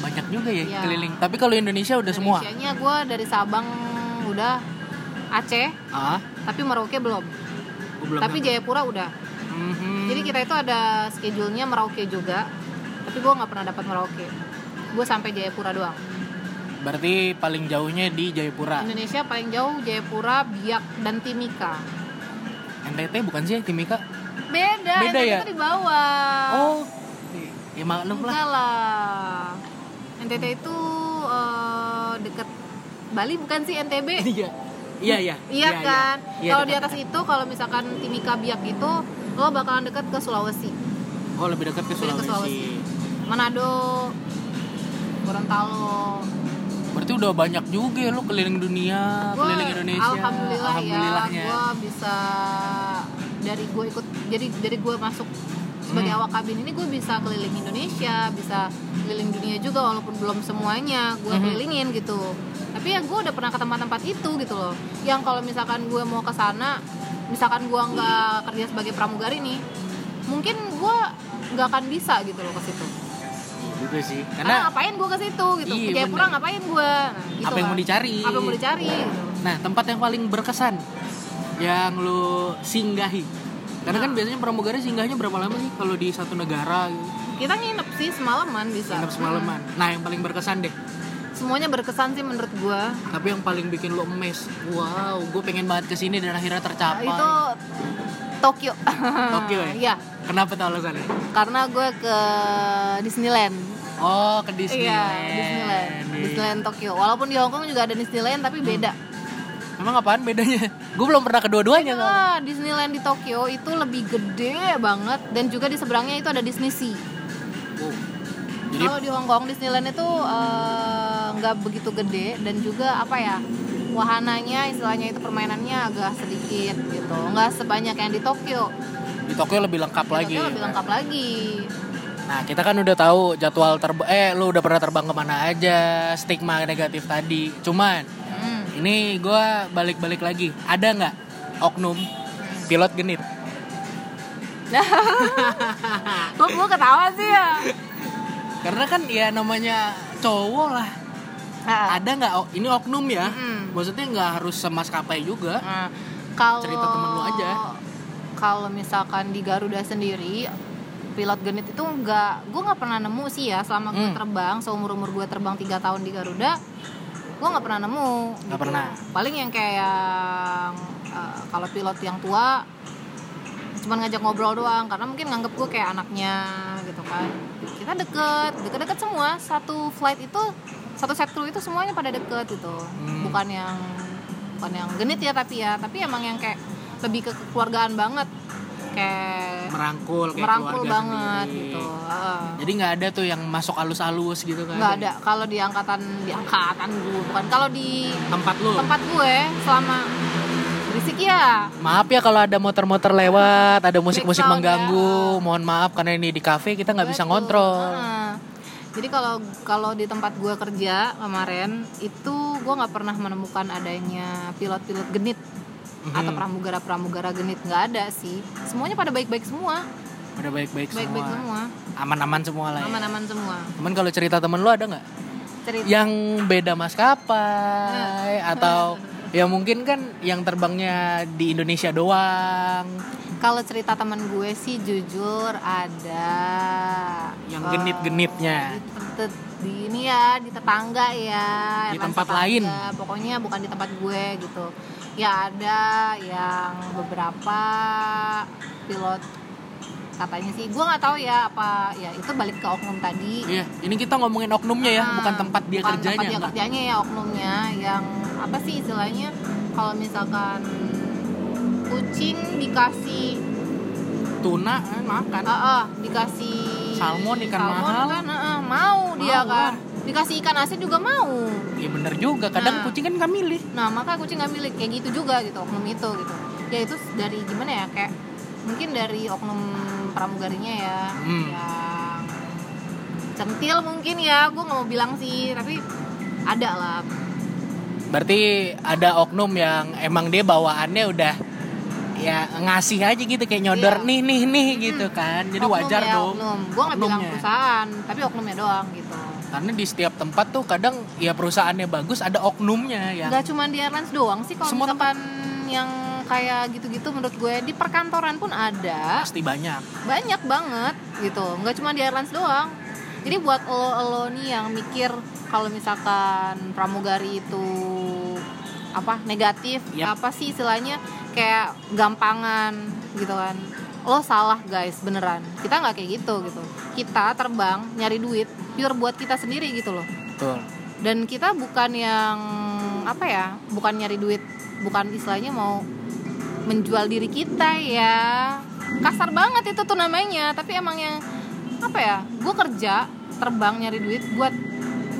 Banyak juga ya
Iya.
keliling. Tapi kalau Indonesia udah semua.
Indonesianya gue dari Sabang udah Aceh,
Ah,
tapi Merauke belum.
gua Oh, belum.
tapi Jayapura udah.
Mhm.
Jadi kita itu ada schedule-nya Merauke juga. Tapi gue nggak pernah dapat Merauke. Gue sampai Jayapura doang.
berarti paling jauhnya di Jayapura.
Indonesia paling jauh Jayapura, Biak dan Timika.
NTT bukan sih Timika?
Beda,
Beda
NTT
ya?
itu di bawah.
Oh. Ya maklum lah.
enggak lah. NTT itu eh, deket Bali bukan sih NTB?
(laughs) Iya. Iya, iya.
Iya kan?
Iya,
kalau di
dekat.
atas itu kalau misalkan Timika Biak itu lo bakalan deket ke Sulawesi.
Oh, lebih dekat ke
Lebih dekat
Sulawesi.
Sulawesi. Manado, Gorontalo,
Berarti udah banyak juga ya lu keliling dunia,
Gua
keliling Indonesia.
alhamdulillah,
Alhamdulillahnya.
ya gue bisa dari gue ikut jadi dari gue masuk sebagai
Hmm.
awak kabin ini gue bisa keliling Indonesia bisa keliling dunia juga walaupun belum semuanya gue
Mhm.
kelilingin gitu tapi ya gue udah pernah ke tempat-tempat itu gitu loh yang kalau misalkan gue mau ke sana misalkan gue nggak kerja sebagai pramugari nih mungkin gue nggak akan bisa gitu loh ke situ
Iya juga sih. Karena
karena, ngapain gue ke situ gitu
Iya,
ke Jayapura
bener.
ngapain gue nah, Ah, gitu
apa yang mau
kan.
dicari?
apa yang mau dicari gitu.
Nah, tempat yang paling berkesan yang lu singgahi. Karena kan biasanya pramugari singgahnya berapa lama sih kalau di satu negara gitu?
Kita nginep sih semalaman bisa.
Nginep semalaman.
Hmm.
Nah, yang paling berkesan deh.
Semuanya berkesan sih menurut gua.
Tapi yang paling bikin lo emes, wow, gue pengen banget kesini dan akhirnya tercapai.
Nah, Itu Tokyo.
Tokyo ya?
Iya,
Kenapa tuh alasannya?
karena gue ke Disneyland.
Oh, ke Disneyland.
Iya, Disneyland.
Iya. Hmm.
Disneyland Tokyo. Walaupun di Hong Kong juga ada Disneyland tapi beda.
Emang apaan bedanya? (laughs) Gue belum pernah kedua-duanya. soalnya.
Wah, Ah, Disneyland di Tokyo itu lebih gede banget dan juga di seberangnya itu ada Disney Sea.
Wow. Jadi
Kalau di Hong Kong Disneyland itu eh, nggak begitu gede dan juga apa ya wahananya istilahnya itu permainannya agak sedikit gitu nggak sebanyak yang di Tokyo.
di Tokyo lebih lengkap
Di
lagi.
Tokyo lebih lengkap lagi.
Nah, kita kan udah tahu jadwal terbang eh lu udah pernah terbang kemana aja, stigma negatif tadi. Cuman
Hmm.
ini gua balik-balik lagi. Ada nggak oknum pilot genit?
Kok gue ketawa sih ya?
Karena kan ya namanya cowok lah.
Ah.
Ada nggak o- ini oknum ya?
Mm-mm.
Maksudnya nggak harus semaskapai juga.
Nah, kalau
Cerita temen lu aja.
Kalau misalkan di Garuda sendiri pilot genit itu nggak, gue nggak pernah nemu sih ya selama gue
Hmm.
terbang seumur umur gue terbang tiga tahun di Garuda, gue nggak pernah nemu. Gitu.
Nggak pernah.
Paling yang kayak yang, eh, kalau pilot yang tua cuman ngajak ngobrol doang karena mungkin nganggep gue kayak anaknya gitu kan kita deket deket-deket semua satu flight itu satu set crew itu semuanya pada deket gitu
Hmm.
bukan yang bukan yang genit ya tapi ya tapi emang yang kayak lebih ke kekeluargaan banget kayak
Merangkul kayak
merangkul
keluarga
banget
sendiri. Iya.
gitu Heeh.
Jadi nggak ada tuh yang masuk alus-alus gitu kan?
nggak ada kalau di angkatan di angkatan gue bukan kalau di
Tempat lu.
tempat gue selama berisik ya
Maaf ya kalau ada motor-motor lewat, ada musik-musik
Background ya.
mengganggu. Mohon maaf karena ini di kafe kita nggak bisa
Betul.
ngontrol.
Heeh. Jadi kalau kalau di tempat gue kerja kemarin itu gue nggak pernah menemukan adanya pilot-pilot genit
Mhm.
atau pramugara-pramugara genit nggak ada sih. Semuanya pada baik-baik semua,
Udah baik-baik
baik-baik
semua.
semua,
Aman-aman semua lah. Ya.
aman-aman semua.
Cuman kalau cerita temen lu ada nggak?
Cerita.
Yang beda maskapai
Nah. (laughs)
atau ya mungkin kan yang terbangnya di Indonesia doang.
Kalau cerita teman gue sih jujur ada
Yang
eh,
genit-genitnya.
di tet- di ini ya di tetangga ya
Di
emang
tempat
tetangga.
lain.
pokoknya bukan di tempat gue gitu ya ada yang beberapa pilot katanya sih gue nggak tahu ya apa ya itu balik ke oknum tadi
Iya, ini kita ngomongin oknumnya ya,
Nah,
bukan tempat dia
bukan
kerjanya.
tempat dia
nggak?
kerjanya ya oknumnya yang apa sih istilahnya kalau misalkan kucing dikasih
Tuna eh, makan.
Heeh, dikasih
Salmon, ikan
salmon
mahal.
kan, heeh, mau, dia
Mau
kan
lah.
dikasih ikan asin juga mau
Ya bener juga, kadang
Nah.
kucing kan nggak milih.
nah maka kucing nggak milik kayak gitu juga gitu oknum itu gitu ya itu dari gimana ya kayak mungkin dari oknum pramugarinya ya
Hmm.
yang centil mungkin ya gue nggak mau bilang sih tapi ada lah
Berarti ada oknum yang emang dia bawaannya udah ya ngasih aja gitu kayak nyodor
Iya.
nih nih nih gitu kan. Jadi
Oknum
wajar
ya,
dong.
oknum gue nggak bilang
Oknumnya.
perusahaan tapi oknumnya doang gitu
Karena di setiap tempat tuh kadang ya perusahaannya bagus ada oknumnya ya.
nggak cuma di airlines doang sih kalau
Semua
misalkan yang kayak gitu-gitu menurut gue di perkantoran pun ada
Pasti banyak.
banyak banget gitu nggak cuma di airlines doang jadi buat lo lo nih yang mikir kalau misalkan pramugari itu apa negatif
Yap.
apa sih istilahnya kayak gampangan gitu kan lo salah guys beneran kita nggak kayak gitu gitu kita terbang nyari duit pure buat kita sendiri gitu loh
Betul.
dan kita bukan yang apa ya bukan nyari duit bukan istilahnya mau menjual diri kita ya kasar banget itu tuh namanya tapi emang yang apa ya gue kerja terbang nyari duit buat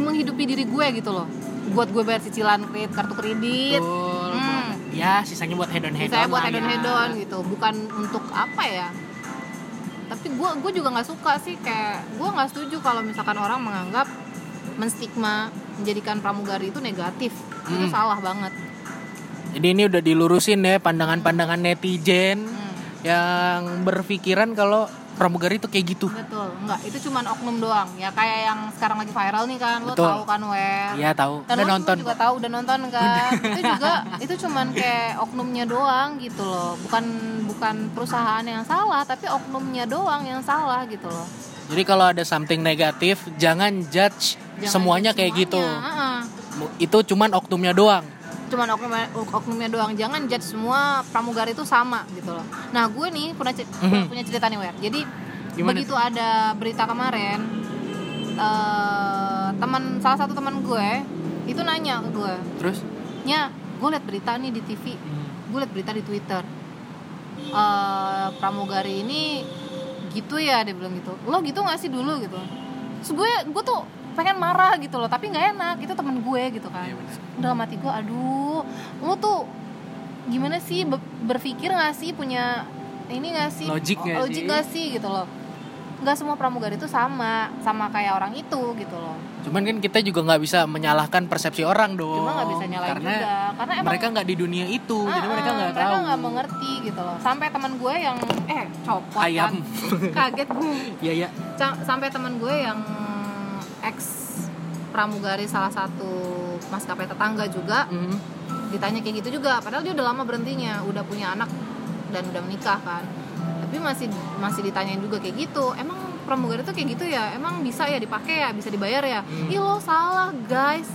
menghidupi diri gue gitu loh buat gue bayar cicilan kredit kartu kredit
Betul.
Hmm.
Ya, sisanya buat hedon hedon.
saya
ya.
buat hedon hedon gitu bukan untuk apa ya tapi gue gue juga nggak suka sih kayak gue nggak setuju kalau misalkan orang menganggap menstigma menjadikan pramugari itu negatif itu
Hmm.
salah banget
Jadi ini udah dilurusin ya pandangan-pandangan netizen
Hmm,
yang berpikiran kalau pramugari tuh kayak gitu.
betul nggak itu cuman oknum doang ya kayak yang sekarang lagi viral nih kan lo
Betul.
tahu kan wer
Iya tahu.
dan
Udah
lo
nonton.
juga tahu udah nonton kan itu juga itu cuman kayak oknumnya doang gitu loh bukan bu- bukan perusahaan yang salah tapi oknumnya doang yang salah gitu loh
Jadi kalau ada something negatif, jangan judge
Jangan
semuanya
judge
kayak gitu.
semuanya, heeh.
Mu- Itu cuman oknumnya doang.
cuman oknum oknumnya doang jangan judge semua pramugari itu sama gitu loh nah gue nih pernah cer-
Mhm.
punya cerita nih Wer jadi
Gimana
begitu ada berita kemarin eh teman salah satu teman gue itu nanya ke gue
Terus?
nya gue liat berita nih di TV gue liat berita di Twitter Eh pramugari ini gitu ya dia bilang gitu lo gitu gak sih dulu gitu Terus gue gue tuh pengen marah gitu loh tapi nggak enak itu temen gue gitu kan
Iya, benar.
dalam hati gue aduh lo tuh gimana sih be- berpikir gak sih punya ini gak sih
Logik nggak
logik
sih?
nggak sih gitu loh nggak semua pramugari itu sama sama kayak orang itu gitu loh
Cuman kan kita juga nggak bisa menyalahkan persepsi orang dong.
cuma nggak bisa nyalain
Oh, Karena
juga karena emang
mereka nggak di dunia itu,
Ah,
jadi mereka
ah,
nggak tahu.
nggak mengerti gitu loh sampai teman gue yang eh copot
Ayam. (laughs)
kan. kaget gue
Iya ya.
Ca- sampai teman gue yang ex pramugari salah satu maskapai tetangga juga
Mm.
ditanya kayak gitu juga padahal dia udah lama berhentinya udah punya anak dan udah menikah kan tapi masih masih ditanyain juga kayak gitu emang pramugari tuh kayak gitu ya emang bisa ya dipakai ya bisa dibayar ya
Hmm.
ih lo salah guys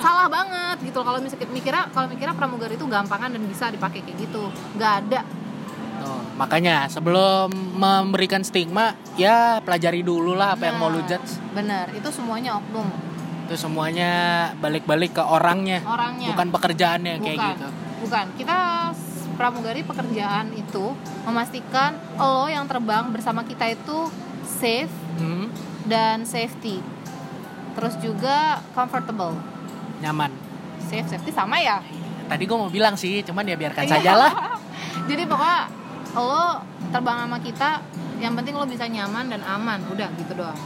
salah banget gitu loh. kalau misalnya mikirnya kalau mikirnya pramugari itu gampangan dan bisa dipakai kayak gitu nggak ada
Tuh, Makanya sebelum memberikan stigma, ya pelajari dulu lah apa yang mau lu
Nah,
judge.
bener itu semuanya oknum
Itu semuanya balik-balik ke orangnya,
orangnya
bukan pekerjaannya kayak
Oh, iya. Bukan.
gitu.
Bukan, kita s- pramugari pekerjaan itu memastikan lo yang terbang bersama kita itu safe
Mm,
dan safety. Terus juga comfortable.
Nyaman.
Safe safety sama ya.
Tadi gue mau bilang sih, cuman ya biarkan
Iya.
saja lah.
Jadi pokoknya lo terbang sama kita yang penting lo bisa nyaman dan aman, udah gitu doang.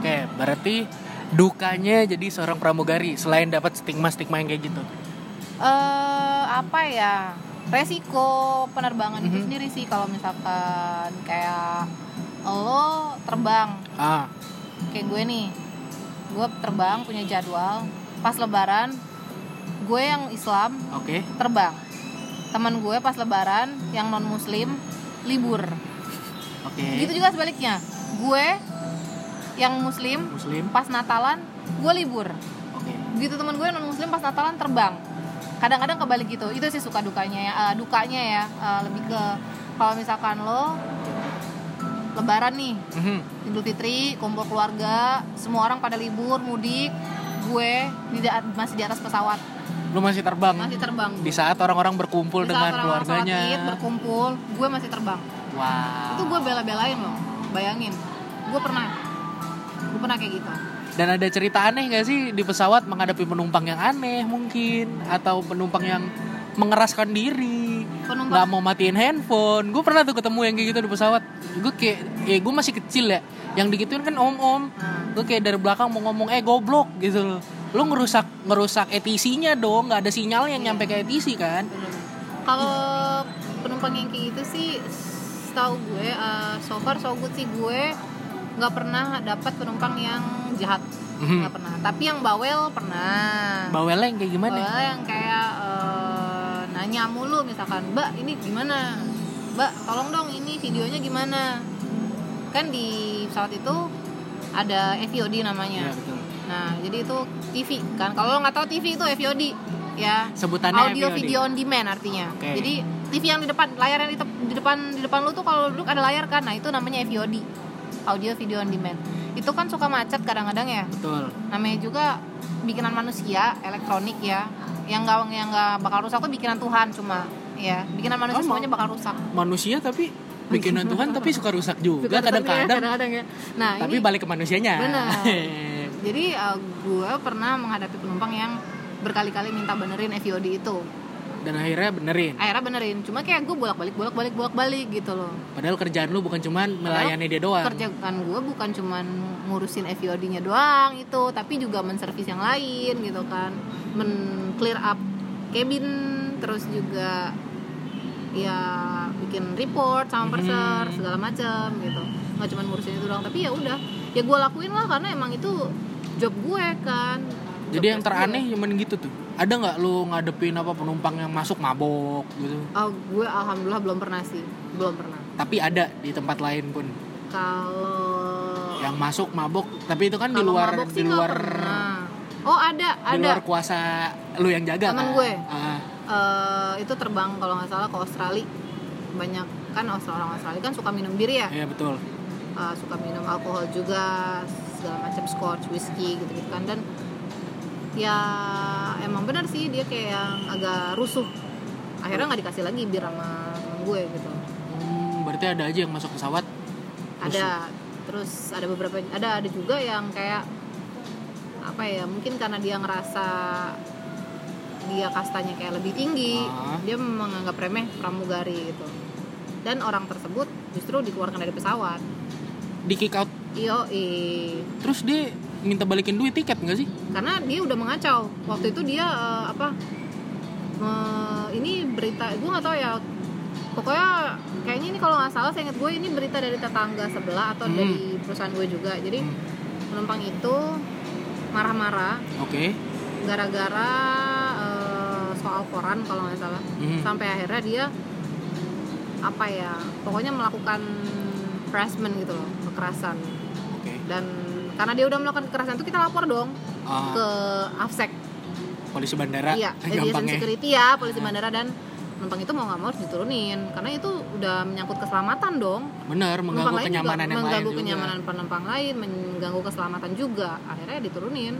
Oke, berarti dukanya jadi seorang pramugari selain dapat stigma-stigma yang kayak gitu.
Eh apa ya? Resiko penerbangan itu
Mhm.
sendiri sih kalau misalkan kayak lo terbang
Ah,
kayak gue nih gue terbang punya jadwal pas lebaran gue yang Islam
oke.
terbang teman gue pas lebaran yang non muslim libur
Oke.
gitu juga sebaliknya gue yang muslim
Muslim.
pas Natalan gue libur
Oke.
gitu teman gue non muslim pas Natalan terbang kadang-kadang kebalik gitu itu sih suka dukanya ya eh, dukanya ya eh, lebih ke kalau misalkan lo lebaran nih
Mhm.
Idul Fitri, kumpul keluarga, semua orang pada libur, mudik, gue di da- masih di atas pesawat,
Lu masih terbang
masih terbang.
di saat orang-orang berkumpul
Di saat
dengan
orang-orang
keluarganya. Ah.
sholat Id, berkumpul, gue masih terbang.
Wah.
Itu gue bela-belain loh, bayangin. Gue pernah, gue pernah kayak gitu.
Dan ada cerita aneh gak sih di pesawat menghadapi penumpang yang aneh mungkin atau penumpang yang mengeraskan diri
Penumpang, Nah,
nggak mau matiin handphone gue pernah tuh ketemu yang kayak gitu di pesawat gue kayak eh gue masih kecil ya yang digituin kan om om
Nah,
gue kayak dari belakang mau ngomong eh goblok gitu loh lu ngerusak ngerusak etisinya dong nggak ada sinyal yang nyampe ke etisi kan
kalau penumpang yang kayak gitu sih, setahu gue, eh, so far so good sih gue nggak pernah dapat penumpang yang jahat,
Mhm.
nggak pernah. Tapi yang bawel pernah.
bawelnya yang kayak gimana
Kalau yang kayak eh, nanya mulu misalkan, Mbak ini gimana? Mbak tolong dong ini videonya gimana? Kan di pesawat itu ada FVOD
Iya,
namanya.
betul.
Nah jadi itu TV kan. Kalau lo nggak tahu TV itu FVOD ya.
sebutannya
audio
FVOD.
video on demand artinya.
Oke.
Jadi TV yang di depan layar yang di, tep- di depan di depan lu tuh kalau duduk ada layar kan. Nah itu namanya FVOD. Audio video on demand. Itu kan suka macet kadang-kadang ya
betul
namanya juga bikinan manusia elektronik ya yang nggak yang nggak bakal rusak tuh bikinan Tuhan cuma ya bikinan manusia
Emang?
semuanya bakal rusak
manusia tapi bikinan Tuhan tapi suka rusak juga
Suka rusak ya,
kadang-kadang
kadang-kadang ya nah
tapi
ini
balik ke manusianya
Benar. jadi uh, gue pernah menghadapi penumpang yang berkali-kali minta benerin FVOD itu
(laughs) dan akhirnya benerin
akhirnya benerin cuma kayak gue bolak-balik bolak-balik bolak-balik gitu loh
padahal kerjaan lu bukan cuman melayani dia doang
kerjaan gue bukan cuman ngurusin FVOD-nya doang itu tapi juga menservis yang lain gitu kan men clear up cabin terus juga ya bikin report sama purser
Mhm.
segala macam gitu nggak cuman ngurusin itu doang tapi ya udah ya gue lakuin lah karena emang itu job gue kan
Jadi yang teraneh cuman gitu tuh. Ada nggak lu ngadepin apa penumpang yang masuk mabok gitu?
Oh, gue alhamdulillah belum pernah sih, belum pernah.
Tapi ada di tempat lain pun
Kalau
yang masuk mabok. Tapi itu kan di
kalau
luar
mabok
di
sih nggak
luar
pernah. Oh ada,
di
ada.
luar kuasa lu yang jaga
Temen
kan?
gue.
Ah,
Eh, itu terbang kalau nggak salah ke Australia. Banyak kan Australia orang Australia kan suka minum bir ya,
iya betul.
Eh, suka minum alkohol juga segala macam scotch, whisky gitu gitu kan dan ya emang benar sih dia kayak yang agak rusuh. Akhirnya nggak dikasih lagi bir sama gue gitu.
Hmm, berarti ada aja yang masuk pesawat.
ada terus ada beberapa ada ada juga yang kayak apa ya mungkin karena dia ngerasa dia kastanya kayak lebih tinggi
Ah.
dia menganggap remeh pramugari gitu dan orang tersebut justru dikeluarkan dari pesawat
Di kick out
iyo
terus dia minta balikin duit tiket nggak sih?
karena dia udah mengacau waktu itu dia eh, apa me- ini berita gue nggak tahu ya pokoknya kayaknya ini kalau nggak salah saya ingat gue ini berita dari tetangga sebelah atau
Hmm.
dari perusahaan gue juga jadi
Hmm.
penumpang itu marah-marah
Oke.
gara-gara eh, soal koran kalau nggak salah
Hmm.
sampai akhirnya dia apa ya pokoknya melakukan harassment gitu loh kekerasan
Oke.
dan karena dia udah melakukan kekerasan itu kita lapor dong
Ah,
ke AFSEC
polisi bandara. (laughs)
iya aviation
gampangnya.
security ya polisi bandara dan penumpang itu mau nggak mau harus diturunin karena itu udah menyangkut keselamatan dong
Bener,
penumpang
mengganggu
lain juga
kenyamanan yang lain
mengganggu
juga.
kenyamanan penumpang lain mengganggu keselamatan juga akhirnya diturunin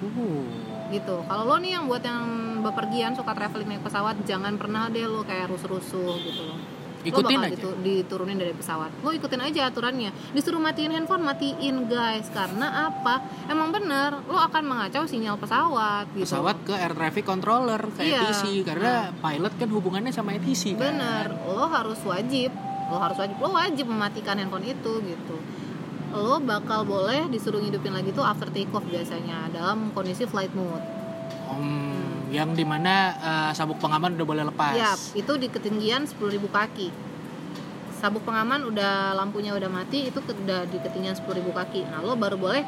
Uh,
gitu kalau lo nih yang buat yang bepergian suka traveling naik pesawat jangan pernah deh lo kayak rusuh-rusuh gitu lo
Ikutin
lo bakal
aja.
ditu- diturunin dari pesawat lo ikutin aja aturannya disuruh matiin handphone matiin guys karena apa emang bener lo akan mengacau sinyal pesawat gitu
pesawat ke air traffic controller, ke
Iya.
ETC karena pilot kan hubungannya sama ETC kan.
bener lo harus wajib lo harus wajib lo wajib mematikan handphone itu gitu lo bakal boleh disuruh hidupin lagi tuh after take off biasanya dalam kondisi flight mode
Hmm, yang dimana eh, sabuk pengaman udah boleh lepas.
Iya, itu di ketinggian 10.000 kaki. Sabuk pengaman udah lampunya udah mati, itu ke- udah di ketinggian 10.000 kaki. Nah, lo baru boleh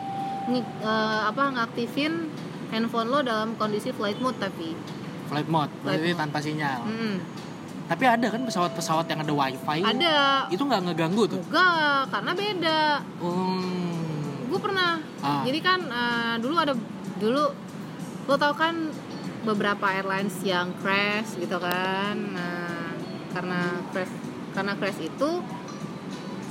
ngi- eh, apa ngaktifin handphone lo dalam kondisi flight mode tapi.
Flight mode,
mode.
berarti
Hmm.
tanpa sinyal.
Mm-mm.
Tapi ada kan pesawat-pesawat yang ada wifi.
Ada
Itu nggak ngeganggu tuh.
enggak karena beda.
Hmm.
Gue pernah.
Ah,
Jadi kan eh, dulu ada dulu lo tau kan beberapa airlines yang crash gitu kan. Nah, karena crash karena crash itu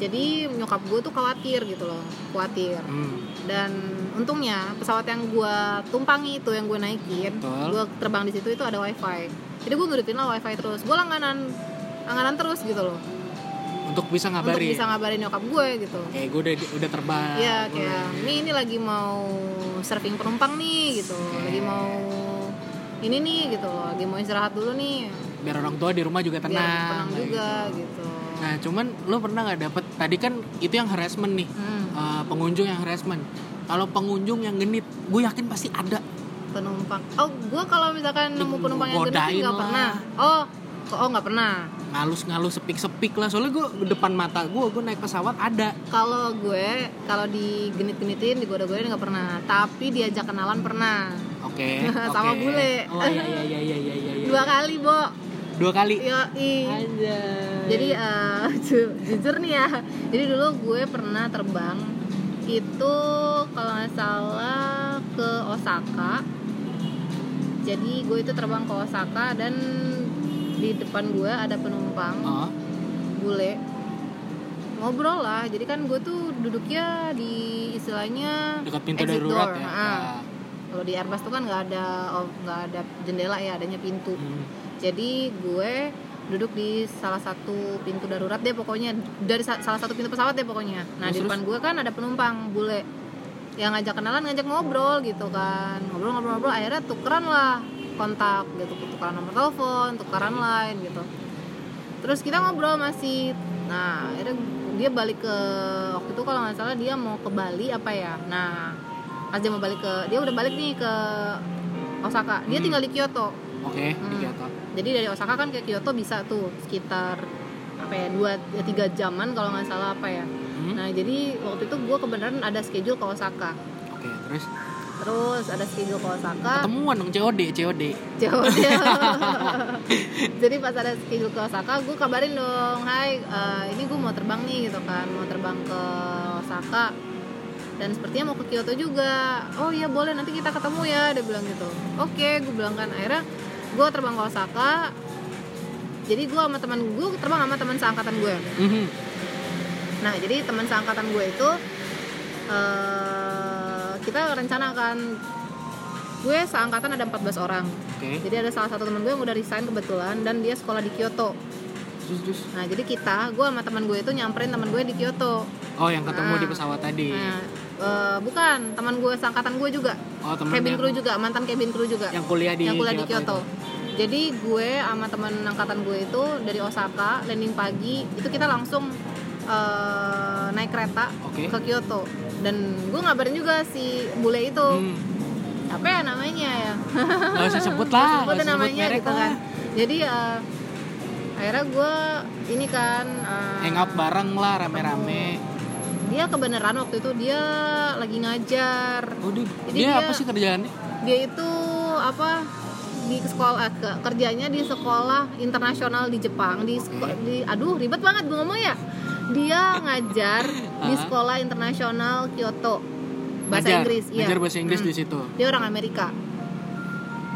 jadi nyokap gue tuh khawatir gitu loh, khawatir.
hmm,
Dan untungnya pesawat yang gue tumpangi itu yang gue naikin,
Betul.
gue terbang di situ itu ada wifi. Jadi gue ngidupin lah wifi terus, gue langganan langganan terus gitu loh,
Untuk bisa ngabarin.
untuk bisa ngabarin nyokap gue gitu.
kayak gue udah udah terbang
Iya kayak ini ini lagi mau surfing penumpang nih gitu, lagi mau ini nih gitu, lagi mau istirahat dulu nih,
Hmm. biar orang tua di rumah juga
biar
tenang,
tenang
kayak
juga
gitu.
gitu.
nah cuman lo pernah nggak dapet tadi kan itu yang harassment nih
Hmm,
Eh, pengunjung yang harassment kalau pengunjung yang genit gue yakin pasti ada
penumpang. Oh gua kalau misalkan nemu penumpang yang genit sih
Godain
nggak
lah.
pernah. Oh kok- oh nggak pernah.
ngalus-ngalus sepik-sepik lah soalnya gue depan mata gue gue naik pesawat ada
Kalau gue kalau digenit-genitin, digoda-godain nggak pernah. Tapi diajak kenalan pernah. (laughs)
oke
Sama
oke.
bule.
oh iya iya iya iya iya, iya, iya.
Dua kali, Bo.
dua kali
Iya. Yoi.
Anjay.
Jadi eh, (laughs) ju- jujur nih ya, jadi dulu gue pernah terbang itu kalau nggak salah ke Osaka. Jadi gue itu terbang ke Osaka dan di depan gue ada penumpang
Oh,
bule ngobrol lah. Jadi kan gue tuh duduknya di istilahnya
dekat pintu
Exit
darurat
door,
ya
ah. kalau di Airbus tuh kan nggak ada oh, nggak ada jendela ya, adanya pintu.
Ya. Hmm.
Jadi gue duduk di salah satu pintu darurat deh pokoknya dari sa- salah satu pintu pesawat deh pokoknya. Nah di
Terus?
depan gue kan ada penumpang bule yang ngajak kenalan ngajak ngobrol gitu kan ngobrol-ngobrol-ngobrol akhirnya tukeran lah kontak gitu tukeran nomor telepon tukeran line gitu terus kita ngobrol masih nah akhirnya dia balik ke waktu itu kalau nggak salah dia mau ke Bali apa ya nah pas dia mau balik ke dia udah balik nih ke Osaka dia
Hmm.
tinggal di Kyoto
oke
Hmm.
dikata.
jadi dari Osaka kan ke Kyoto bisa tuh sekitar apa ya dua ya, tiga jaman kalau nggak salah apa ya
Hmm,
nah jadi waktu itu gue kebenaran ada schedule ke Osaka
oke terus
eh terus ada Shigo Kawasaka
Ketemuan dong COD, COD.
jauh jadi pas ada schedule ke Osaka gue kabarin dong hai eh, ini gue mau terbang nih gitu kan mau terbang ke Osaka dan sepertinya mau ke Kyoto juga oh iya boleh nanti kita ketemu ya dia bilang gitu oke gue bilang kan akhirnya gue terbang ke Osaka jadi gue sama teman gue terbang sama teman seangkatan gue
Mhm.
Nah, jadi teman seangkatan gue itu eh kita rencanakan gue seangkatan ada 14 orang.
Oke.
Jadi ada salah satu teman gue yang udah resign kebetulan dan dia sekolah di Kyoto.
Terus, terus.
Nah, jadi kita, gue sama teman gue itu nyamperin teman gue di Kyoto.
Oh, yang ketemu
Nah.
di pesawat tadi.
Nah, eh, bukan, teman gue seangkatan gue juga.
Oh, temen
cabin
yang,
crew juga, mantan cabin crew juga.
yang kuliah di
yang kuliah di Kyoto.
Kyoto.
Jadi gue sama teman angkatan gue itu dari Osaka landing pagi itu kita langsung eh, naik kereta
Oke.
ke Kyoto dan gue ngabarin juga si bule itu
Hmm.
apa ya namanya ya
Gak usah sebut
Gua sebutin
lah, gak usah sebut
namanya
merek
gitu
lah.
kan jadi eh, akhirnya gue ini kan eh,
Hangout bareng lah, rame-rame.
dia kebenaran waktu itu dia lagi ngajar
Waduh,
Jadi
dia,
Oh. dia-
apa sih kerjaannya?
dia itu apa di sekolah eh, ke- kerjanya di sekolah internasional di Jepang di seko-
Oke.
di aduh ribet banget gue ngomong ya dia ngajar di
(laughs) Ah.
sekolah internasional Kyoto bahasa
Ngajar.
Inggris iya.
Ngajar bahasa Inggris
Hmm.
di situ.
dia orang Amerika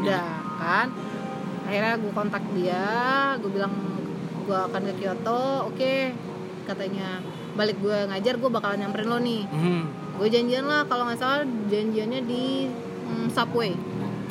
Iya.
udah kan akhirnya gue kontak dia gue bilang gue akan ke Kyoto oke katanya balik gue ngajar gue bakalan nyamperin lo nih
Mhm.
gue janjian lah kalau nggak salah janjiannya di mm, subway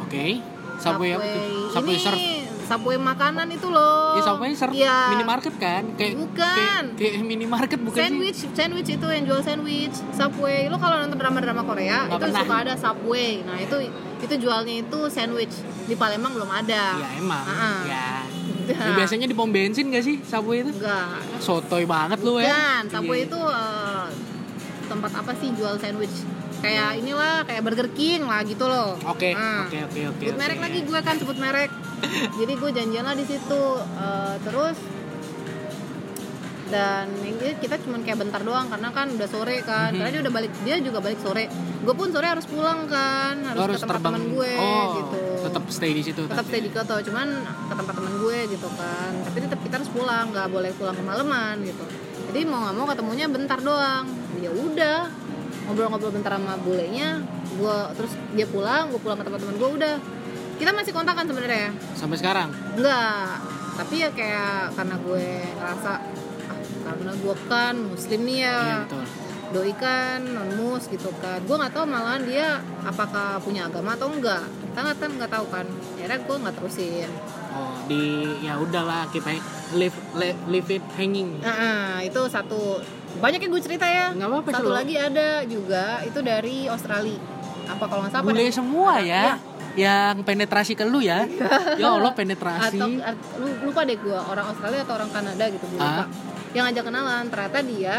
Oke. Subway apa tuh? Subway
ini
surf.
Subway makanan itu loh.
Ya, Subway surf
Iya.
minimarket kan? Kayak
Bukan.
Kayak, kayak minimarket bukan sih?
sandwich, sandwich itu yang jual sandwich, Subway. Lo kalau nonton drama-drama Korea
Nggak
itu
pernah.
suka ada Subway. Nah, itu itu jualnya itu sandwich. Di Palembang belum
Ya
ada.
emang.
Ah.
Ya.
Udah.
Ya, biasanya di pom bensin gak sih Subway itu?
Enggak.
Sotoy banget lu ya.
Dan Subway
Iya.
itu eh, tempat apa sih jual sandwich? Kayak inilah, kayak Burger King lah gitu loh.
Oke,
Nah.
oke, oke, oke.
sebut
oke.
merek lagi gue kan sebut
(laughs)
merek jadi gue janjian lah di situ Eh, terus dan ini kita cuman kayak bentar doang karena kan udah sore kan
Mhm.
karena dia udah balik dia juga balik sore gue pun sore harus pulang kan
Lu
harus, ke tempat teman gue
oh,
gitu
Tetap stay di situ.
tetap stay di Kyoto cuman ke tempat teman gue gitu kan tapi tetap kita harus pulang nggak boleh pulang kemalaman gitu jadi mau nggak mau ketemunya bentar doang ya udah ngobrol-ngobrol bentar sama bulenya gue terus dia pulang gue pulang ke tempat teman gue udah kita masih kontakan sebenarnya ya
Sampai sekarang.
enggak tapi ya kayak karena gue ngerasa ah, karena gue kan muslim nih ya
Iya, betul.
doi kan non mus gitu kan gue nggak tahu malahan dia apakah punya agama atau enggak kita nggak kan nggak tahu kan akhirnya gue nggak terusin
Oh, di ya udahlah kita leave le- leave it hanging.
nah ah, itu satu banyak yang gue cerita ya
Enggak apa-apa
satu
Celo.
lagi ada juga itu dari Australia apa kalau nggak salah
Bule
pada-
semua ya. Yang penetrasi ke lu
(laughs)
ya. ya Allah penetrasi.
atau at- lu- lupa deh gue orang Australia atau orang Kanada gitu gue lupa
Ah.
yang ngajak kenalan ternyata dia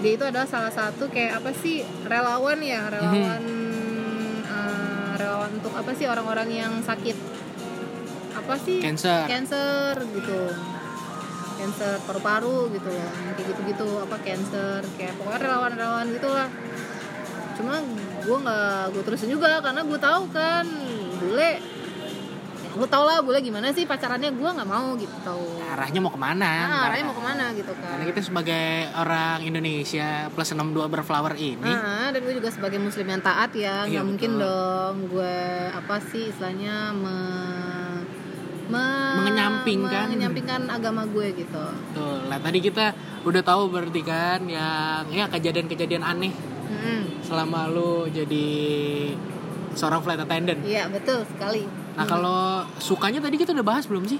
dia itu adalah salah satu kayak apa sih relawan ya relawan
Mhm.
eh, relawan untuk apa sih orang-orang yang sakit apa sih
Cancer.
cancer gitu cancer paru-paru gitu loh yang kayak gitu-gitu apa cancer kayak pokoknya relawan-relawan gitu lah cuma gue nggak gue terusin juga karena gue tahu kan bule ya, lu tau lah bule gimana sih pacarannya gue nggak mau gitu
Arahnya mau kemana?
nah arahnya mau kemana gitu kan
Iya, Karena kita sebagai orang Indonesia plus 62 berflower ini.
Ah, dan gue juga sebagai muslim yang taat ya nggak
Iya,
mungkin
betul.
dong gue apa sih istilahnya me, me-
Mengenyampingkan.
mengenyampingkan agama gue gitu
Tuh, lah tadi kita udah tahu berarti kan yang ya kejadian-kejadian aneh
Mm-mm.
selama lu jadi seorang flight attendant.
Iya betul sekali.
Nah, kalau sukanya tadi kita udah bahas belum sih?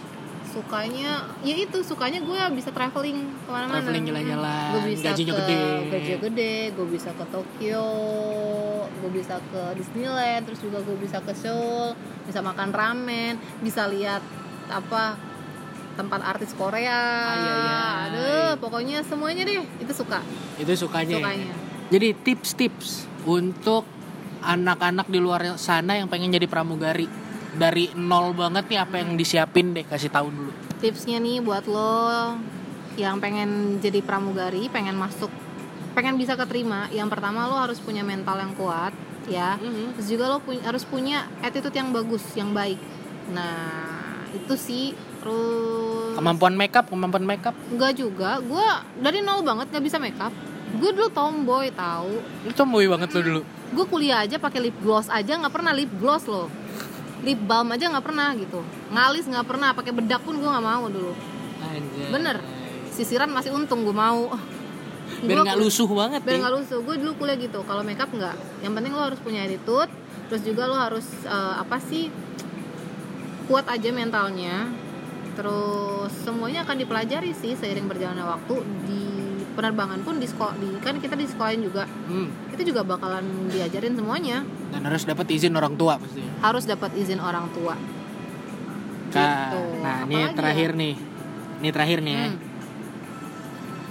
Sukanya, ya itu sukanya gue bisa traveling kemana-mana.
Traveling jalan-jalan,
Gue bisa
gajinya
ke,
gede.
Gajinya gede, gue bisa ke Tokyo, gue bisa ke Disneyland, terus juga gue bisa ke Seoul, bisa makan ramen, bisa lihat apa tempat artis Korea.
Ah, iya, iya.
Aduh, pokoknya semuanya deh itu suka.
Itu sukanya. ya?
Sukanya.
Jadi tips-tips untuk anak-anak di luar sana yang pengen jadi pramugari dari nol banget nih apa yang disiapin deh kasih tahu dulu.
tipsnya nih buat lo yang pengen jadi pramugari, pengen masuk, pengen bisa keterima, yang pertama lo harus punya mental yang kuat, ya
Mhm.
terus juga lo punya- harus punya attitude yang bagus yang baik nah itu sih terus
Kemampuan makeup, kemampuan makeup.
enggak juga gue dari nol banget nggak bisa makeup gue dulu tomboy tahu
Lu tomboy banget lu dulu.
gue kuliah aja pakai lip gloss aja nggak pernah lip gloss loh lip balm aja nggak pernah gitu ngalis nggak pernah pakai bedak pun gue nggak mau dulu
Anjay.
Bener. sisiran masih untung gue mau
Biar
Gua
nggak
kul-
lusuh banget
biar
nih.
nggak lusuh gue dulu kuliah gitu kalau makeup nggak yang penting lo harus punya attitude terus juga lo harus eh, apa sih kuat aja mentalnya terus semuanya akan dipelajari sih seiring berjalannya waktu di penerbangan pun di sekolah di kan kita di sekolahin juga
Hmm.
itu juga bakalan diajarin semuanya
Dan harus dapat izin orang tua pasti.
harus dapat izin orang tua
Ka-
Gitu.
Nah,
Apa
ini
lagi
terakhir nih. Ini terakhir nih ya.
Hmm.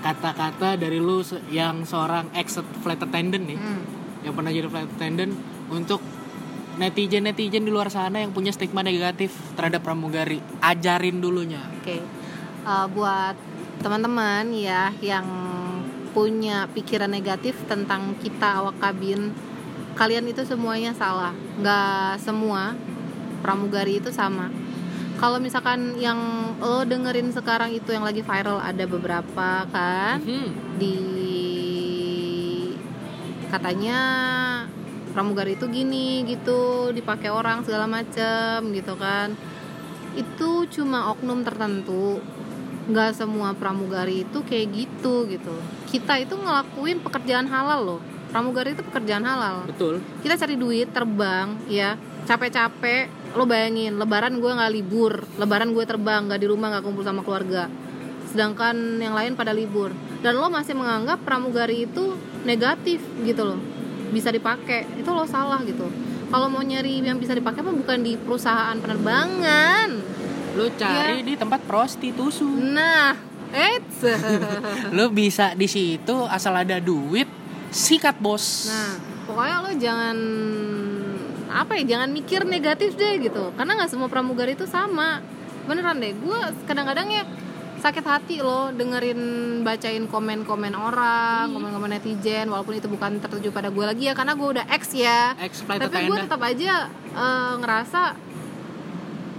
Kata-kata dari lu se- yang seorang ex flight attendant nih,
Hmm.
yang pernah jadi flight attendant untuk netizen-netizen di luar sana yang punya stigma negatif terhadap pramugari, ajarin dulunya.
Oke, Eh, buat teman-teman ya yang punya pikiran negatif tentang kita awak kabin, kalian itu semuanya salah. Nggak semua pramugari itu sama. Kalau misalkan yang lo dengerin sekarang itu yang lagi viral ada beberapa kan
Hmm.
di katanya pramugari itu gini gitu dipakai orang segala macem gitu kan itu cuma oknum tertentu nggak semua pramugari itu kayak gitu gitu kita itu ngelakuin pekerjaan halal loh pramugari itu pekerjaan halal
Betul.
kita cari duit terbang ya capek-capek lo bayangin lebaran gue nggak libur lebaran gue terbang nggak di rumah nggak kumpul sama keluarga sedangkan yang lain pada libur dan lo masih menganggap pramugari itu negatif gitu loh bisa dipakai itu lo salah gitu kalau mau nyari yang bisa dipakai mah bukan di perusahaan penerbangan
Lu cari
Iya.
di tempat prostitusi.
nah eits (laughs) Nah.
lu bisa di situ asal ada duit sikat bos
Nah, pokoknya lo jangan apa ya, jangan mikir negatif deh gitu. Karena nggak semua pramugari itu sama. Beneran deh, gue kadang-kadang ya sakit hati lo dengerin bacain komen-komen orang, komen-komen netizen, walaupun itu bukan tertuju pada gue lagi ya, karena gue udah ex ya.
ex flight
Tapi gue
attendant
tetap aja eh, ngerasa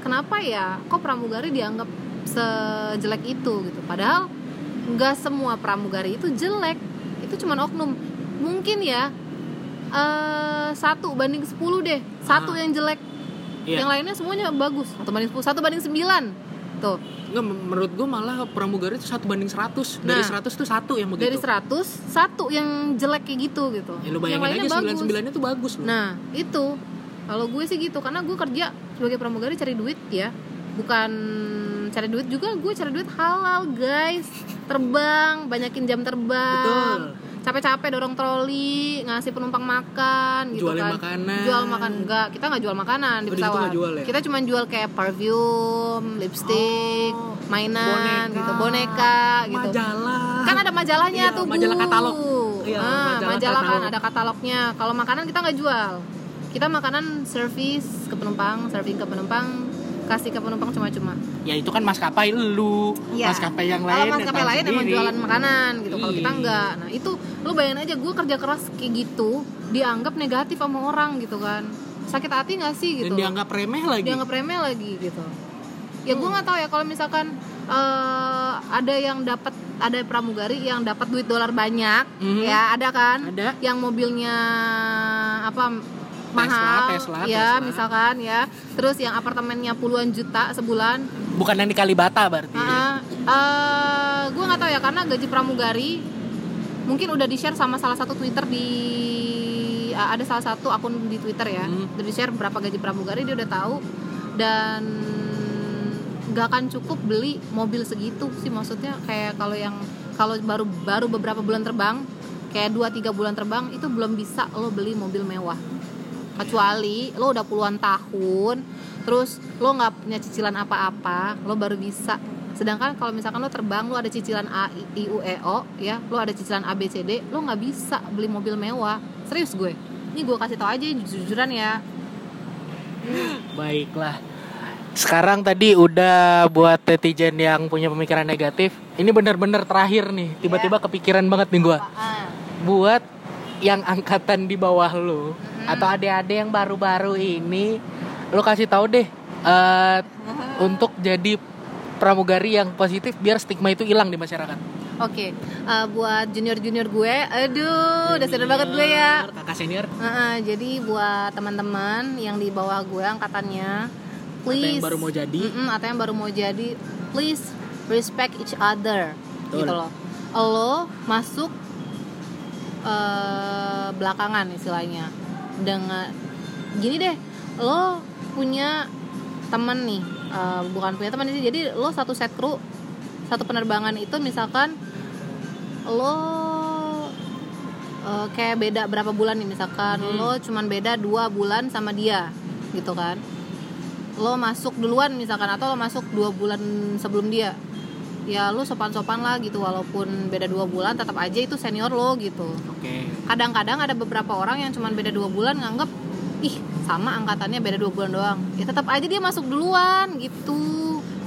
kenapa ya, kok pramugari dianggap sejelek itu gitu. Padahal nggak semua pramugari itu jelek, itu cuman oknum. Mungkin ya eh satu banding 10 deh, satu
Ah.
yang jelek,
Iya.
yang lainnya semuanya bagus. Satu banding 10, satu banding 9 tuh.
Nggak, men- menurut gue malah pramugari itu satu banding 100 dari
Nah.
100 tuh satu yang
Dari
begitu
100, satu yang jelek kayak gitu gitu.
ya lu
yang lainnya
bayangin aja
bagus.
99 nya tuh bagus loh
Nah, itu. Kalau gue sih gitu, karena gue kerja sebagai pramugari cari duit ya. Bukan cari duit juga, gue cari duit halal, guys. Terbang, banyakin jam
betul
terbang. Capek-capek dorong troli, ngasih penumpang makan gitu
jualin
kan.
makanan
Jual makan enggak, kita nggak jual makanan di
Oh, di situ
pesawat.
nggak jual ya?
Kita cuma jual kayak perfume, lipstick,
Oh,
mainan
boneka,
gitu, boneka gitu
majalah
kan ada majalahnya
Iya,
tuh Bu.
majalah katalog. Iya,
Ah,
majalah
majalah, kan
katalog.
ada katalognya kalau makanan kita nggak jual kita makanan service ke penumpang serving ke penumpang kasih ke penumpang cuma-cuma
ya itu kan maskapai lu
Iya.
maskapai yang
kalau
lain
maskapai
datang
lain emang
sendiri.
jualan makanan gitu kalau kita
Iya.
nggak nah itu lu bayangin aja gue kerja keras kayak gitu dianggap negatif sama orang gitu kan sakit hati nggak sih
dan
gitu
dianggap remeh lagi
dianggap remeh lagi gitu ya gue nggak tahu ya kalau misalkan eh, ada yang dapat ada pramugari yang dapat duit dolar banyak
Mhm.
ya ada kan
ada
yang mobilnya apa mahal
Tesla,
ya
Tesla.
misalkan ya terus yang apartemennya puluhan juta sebulan
bukan yang di Kalibata berarti
Ah, gue nggak tahu ya karena gaji pramugari mungkin udah di share sama salah satu twitter di eh, ada salah satu akun di twitter ya
Hmm.
udah di share berapa gaji pramugari dia udah tahu dan nggak akan cukup beli mobil segitu sih maksudnya kayak kalau yang kalau baru baru beberapa bulan terbang kayak 2-3 bulan terbang itu belum bisa lo beli mobil mewah kecuali lo udah puluhan tahun terus lo nggak punya cicilan apa-apa lo baru bisa sedangkan kalau misalkan lo terbang lo ada cicilan A I U E O ya lo ada cicilan A B C D lo nggak bisa beli mobil mewah serius gue ini gue kasih tau aja jujuran ya
Baiklah. Sekarang tadi udah buat netizen yang punya pemikiran
Iya.
negatif. Ini benar-benar terakhir nih. Tiba-tiba kepikiran banget nih gua. Buat yang angkatan di bawah lu
Hmm.
atau adik-adik yang baru-baru ini lu kasih tahu deh
Hmm.
eh, untuk jadi pramugari yang positif biar stigma itu hilang di masyarakat.
Oke, eh, buat junior-junior gue, aduh, udah sadar banget gue ya.
Junior, Kakak senior
Heeh, jadi buat teman-teman yang di bawah gue angkatannya,
atau
please
yang baru mau jadi
Mm-mm, atau yang baru mau jadi, please respect each other,
Betul.
gitu loh. Lo masuk eh, belakangan istilahnya dengan gini deh, lo punya temen nih, eh, bukan punya teman sih, jadi lo satu set kru, satu penerbangan itu misalkan lo eh, kayak beda berapa bulan nih misalkan lo cuman beda dua bulan sama dia gitu kan lo masuk duluan misalkan atau lo masuk dua bulan sebelum dia ya lo sopan-sopan lah gitu walaupun beda dua bulan tetap aja itu senior lo gitu
Oke.
kadang-kadang ada beberapa orang yang cuman beda dua bulan nganggep ih sama angkatannya beda dua bulan doang ya tetap aja dia masuk duluan gitu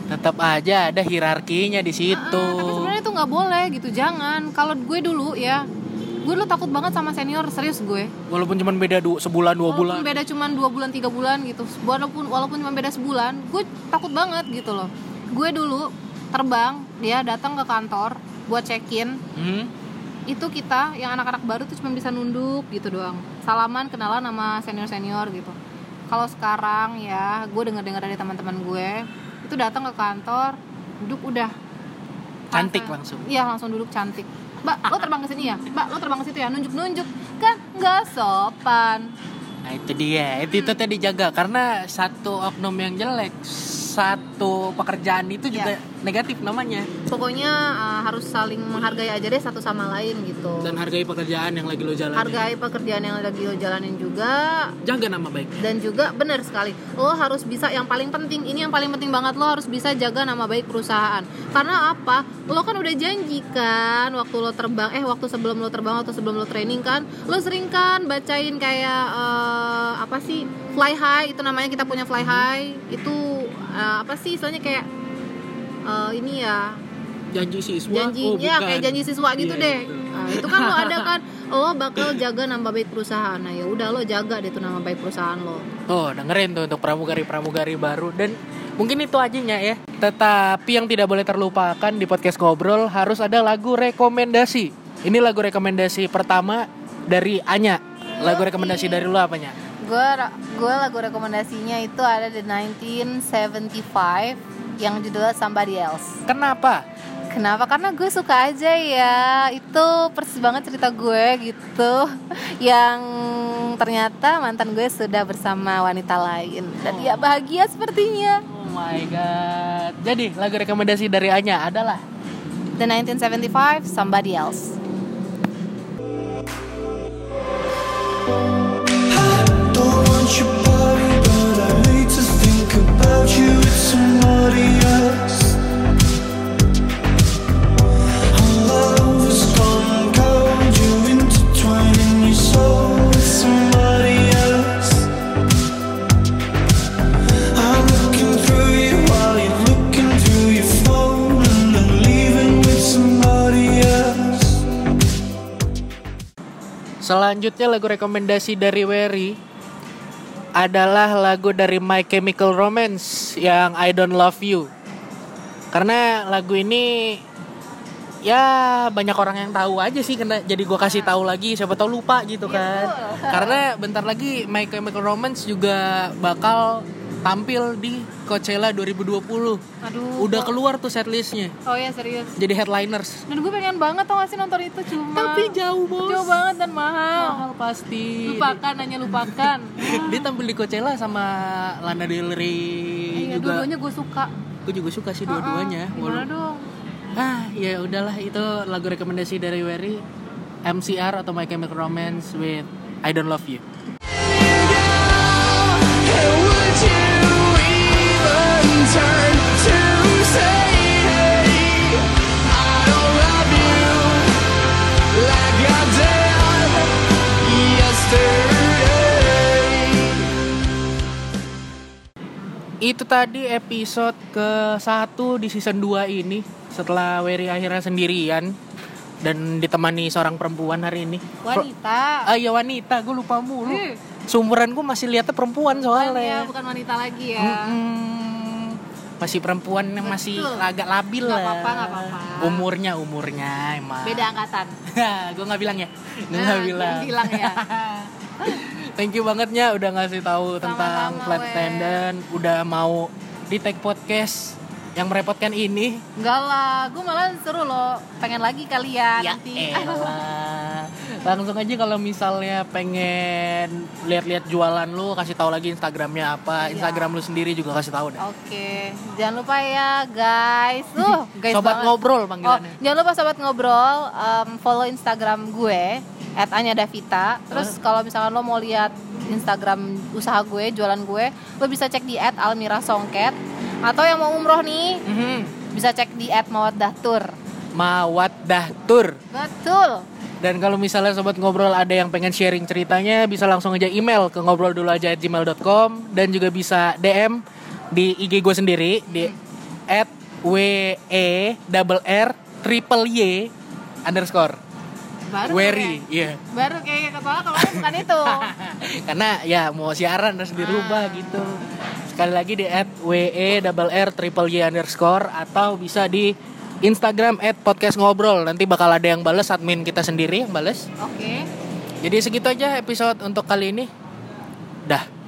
Tetap aja ada hierarkinya di situ.
Ah, tapi sebenarnya itu nggak boleh gitu jangan kalau gue dulu ya gue dulu takut banget sama senior serius gue
Walaupun cuma beda du- sebulan dua bulan.
walaupun beda cuman dua bulan tiga bulan gitu walaupun walaupun cuma beda sebulan gue takut banget gitu loh gue dulu terbang dia datang ke kantor buat check in
Hmm?
itu kita yang anak-anak baru tuh cuma bisa nunduk gitu doang salaman kenalan sama senior senior gitu kalau sekarang ya gue denger dengar dari teman-teman gue itu datang ke kantor duduk udah
Cantik langsung.
Iya langsung duduk cantik. Mbak, lo terbang ke sini ya? Mbak, lo terbang ke situ ya? Nunjuk-nunjuk. Kan nggak sopan.
Nah itu dia, itu,
Hmm.
itu tadi dijaga karena satu oknum yang jelek, satu pekerjaan
Iya.
itu juga negatif namanya.
Pokoknya eh, harus saling menghargai aja deh satu sama lain gitu.
Dan hargai pekerjaan yang lagi lo jalani.
Hargai pekerjaan yang lagi lo jalanin juga
Jaga nama baik.
dan juga benar sekali lo harus bisa yang paling penting ini yang paling penting banget lo harus bisa jaga nama baik perusahaan karena apa lo kan udah janji kan waktu lo terbang eh waktu sebelum lo terbang atau sebelum lo training kan lo sering kan bacain kayak eh, apa sih fly high itu namanya kita punya fly high itu eh, apa sih istilahnya kayak eh, ini ya
Janji siswa. oh,
janjinya
bukan.
kayak janji siswa gitu
Iya,
deh
betul.
Nah, itu kan lo ada kan lo bakal jaga nama baik perusahaan nah ya udah lo jaga deh tuh nama baik perusahaan lo
Tuh Oh, dengerin tuh untuk pramugari-pramugari baru dan mungkin itu ajinya ya. Tetapi yang tidak boleh terlupakan di podcast ngobrol harus ada lagu rekomendasi. Ini lagu rekomendasi pertama dari Anya. Lagu rekomendasi dari lu apanya?
gue gue lagu rekomendasinya itu ada di 1975 yang judulnya Somebody Else.
Kenapa?
Kenapa? Karena gue suka aja ya. Itu persis banget cerita gue gitu. (laughs) Yang ternyata mantan gue sudah bersama wanita lain dan dia bahagia sepertinya.
Oh my god. Jadi lagu rekomendasi dari Anya adalah
The 1975 Somebody Else.
Don't want your body, but I hate to think about you with somebody else. Our love is gone cold, you intertwining your soul with somebody else. I'm looking through you while you're looking through your phone, and I'm leaving with somebody else.
Selanjutnya lagu rekomendasi dari Wery adalah lagu dari My Chemical Romance yang I Don't Love You. Karena lagu ini ya banyak orang yang tahu aja sih kena jadi gua kasih tahu lagi siapa tahu lupa gitu
Iya,
kan.
(laughs)
Karena bentar lagi My Chemical Romance juga bakal tampil di Coachella 2020.
Aduh.
Udah keluar tuh setlistnya
Oh ya serius.
jadi headliners.
Dan gue pengen banget tau gak sih nonton itu cuma
Tapi jauh bos.
jauh banget dan mahal.
Mahal pasti.
Lupakan hanya lupakan.
Eh, dia tampil di Coachella sama Lana Del Rey
Iya,
juga
dua-duanya gue suka.
aku juga suka sih dua-duanya
Gimana dong?
Walau- ah ya udahlah itu lagu rekomendasi dari Wery MCR atau My Chemical Romance with I Don't Love You itu tadi episode ke satu di season 2 ini setelah Wery akhirnya sendirian dan ditemani seorang perempuan hari ini. Pro-
wanita
Ah iya wanita, gue lupa mulu.
Hmm.
Sumuran gue masih lihatnya
bukan
perempuan
ya
soalnya.
bukan wanita lagi ya
Mm-mm. Hmm, masih perempuan yang masih
Betul.
agak labil
Nggak
lah.
apa-apa, nggak apa-apa.
Umurnya umurnya emang. (laughs)
beda angkatan
gue nggak bilang ya. Gue
Nah,
nggak
gua
bilang.
bilang
(laughs)
ya
Thank you bangetnya udah ngasih tahu tentang
Sama-sama,
flight
Wes.
attendant, udah mau di take podcast yang merepotkan ini.
Enggak lah, gue malah seru loh Pengen lagi kalian
Ya
Nah, nanti
elah. Langsung aja kalau misalnya pengen lihat-lihat jualan lu kasih tahu lagi Instagramnya
Iya.
apa,
Oh,
Instagram lu sendiri juga kasih tahu deh.
Oke, jangan lupa ya guys. Uh, guys
Sobat
banget.
ngobrol
Oh,
panggilannya.
jangan lupa sobat ngobrol, em, follow Instagram gue @anyadavita. Terus kalau misalkan lo mau lihat Instagram usaha gue, jualan gue, lo bisa cek di @almirasongket. Atau yang mau umroh nih,
Mhm.
bisa cek di @mawadahtur.
Mawat Dahtur.
Betul.
Dan kalau misalnya sobat ngobrol ada yang pengen sharing ceritanya bisa langsung aja email ke ngobrol dulu aja gmail.com dan juga bisa DM di IG gue sendiri di at w e double r triple y underscore
Baru kayak-
wery iya
Baru kayak ketawa kalau bukan itu.
karena ya mau siaran harus dirubah gitu sekali lagi di at w e double r triple y underscore atau bisa di Instagram at podcast ngobrol nanti bakal ada yang bales admin kita sendiri yang bales
Oke.
Jadi segitu aja episode untuk kali ini. Dah.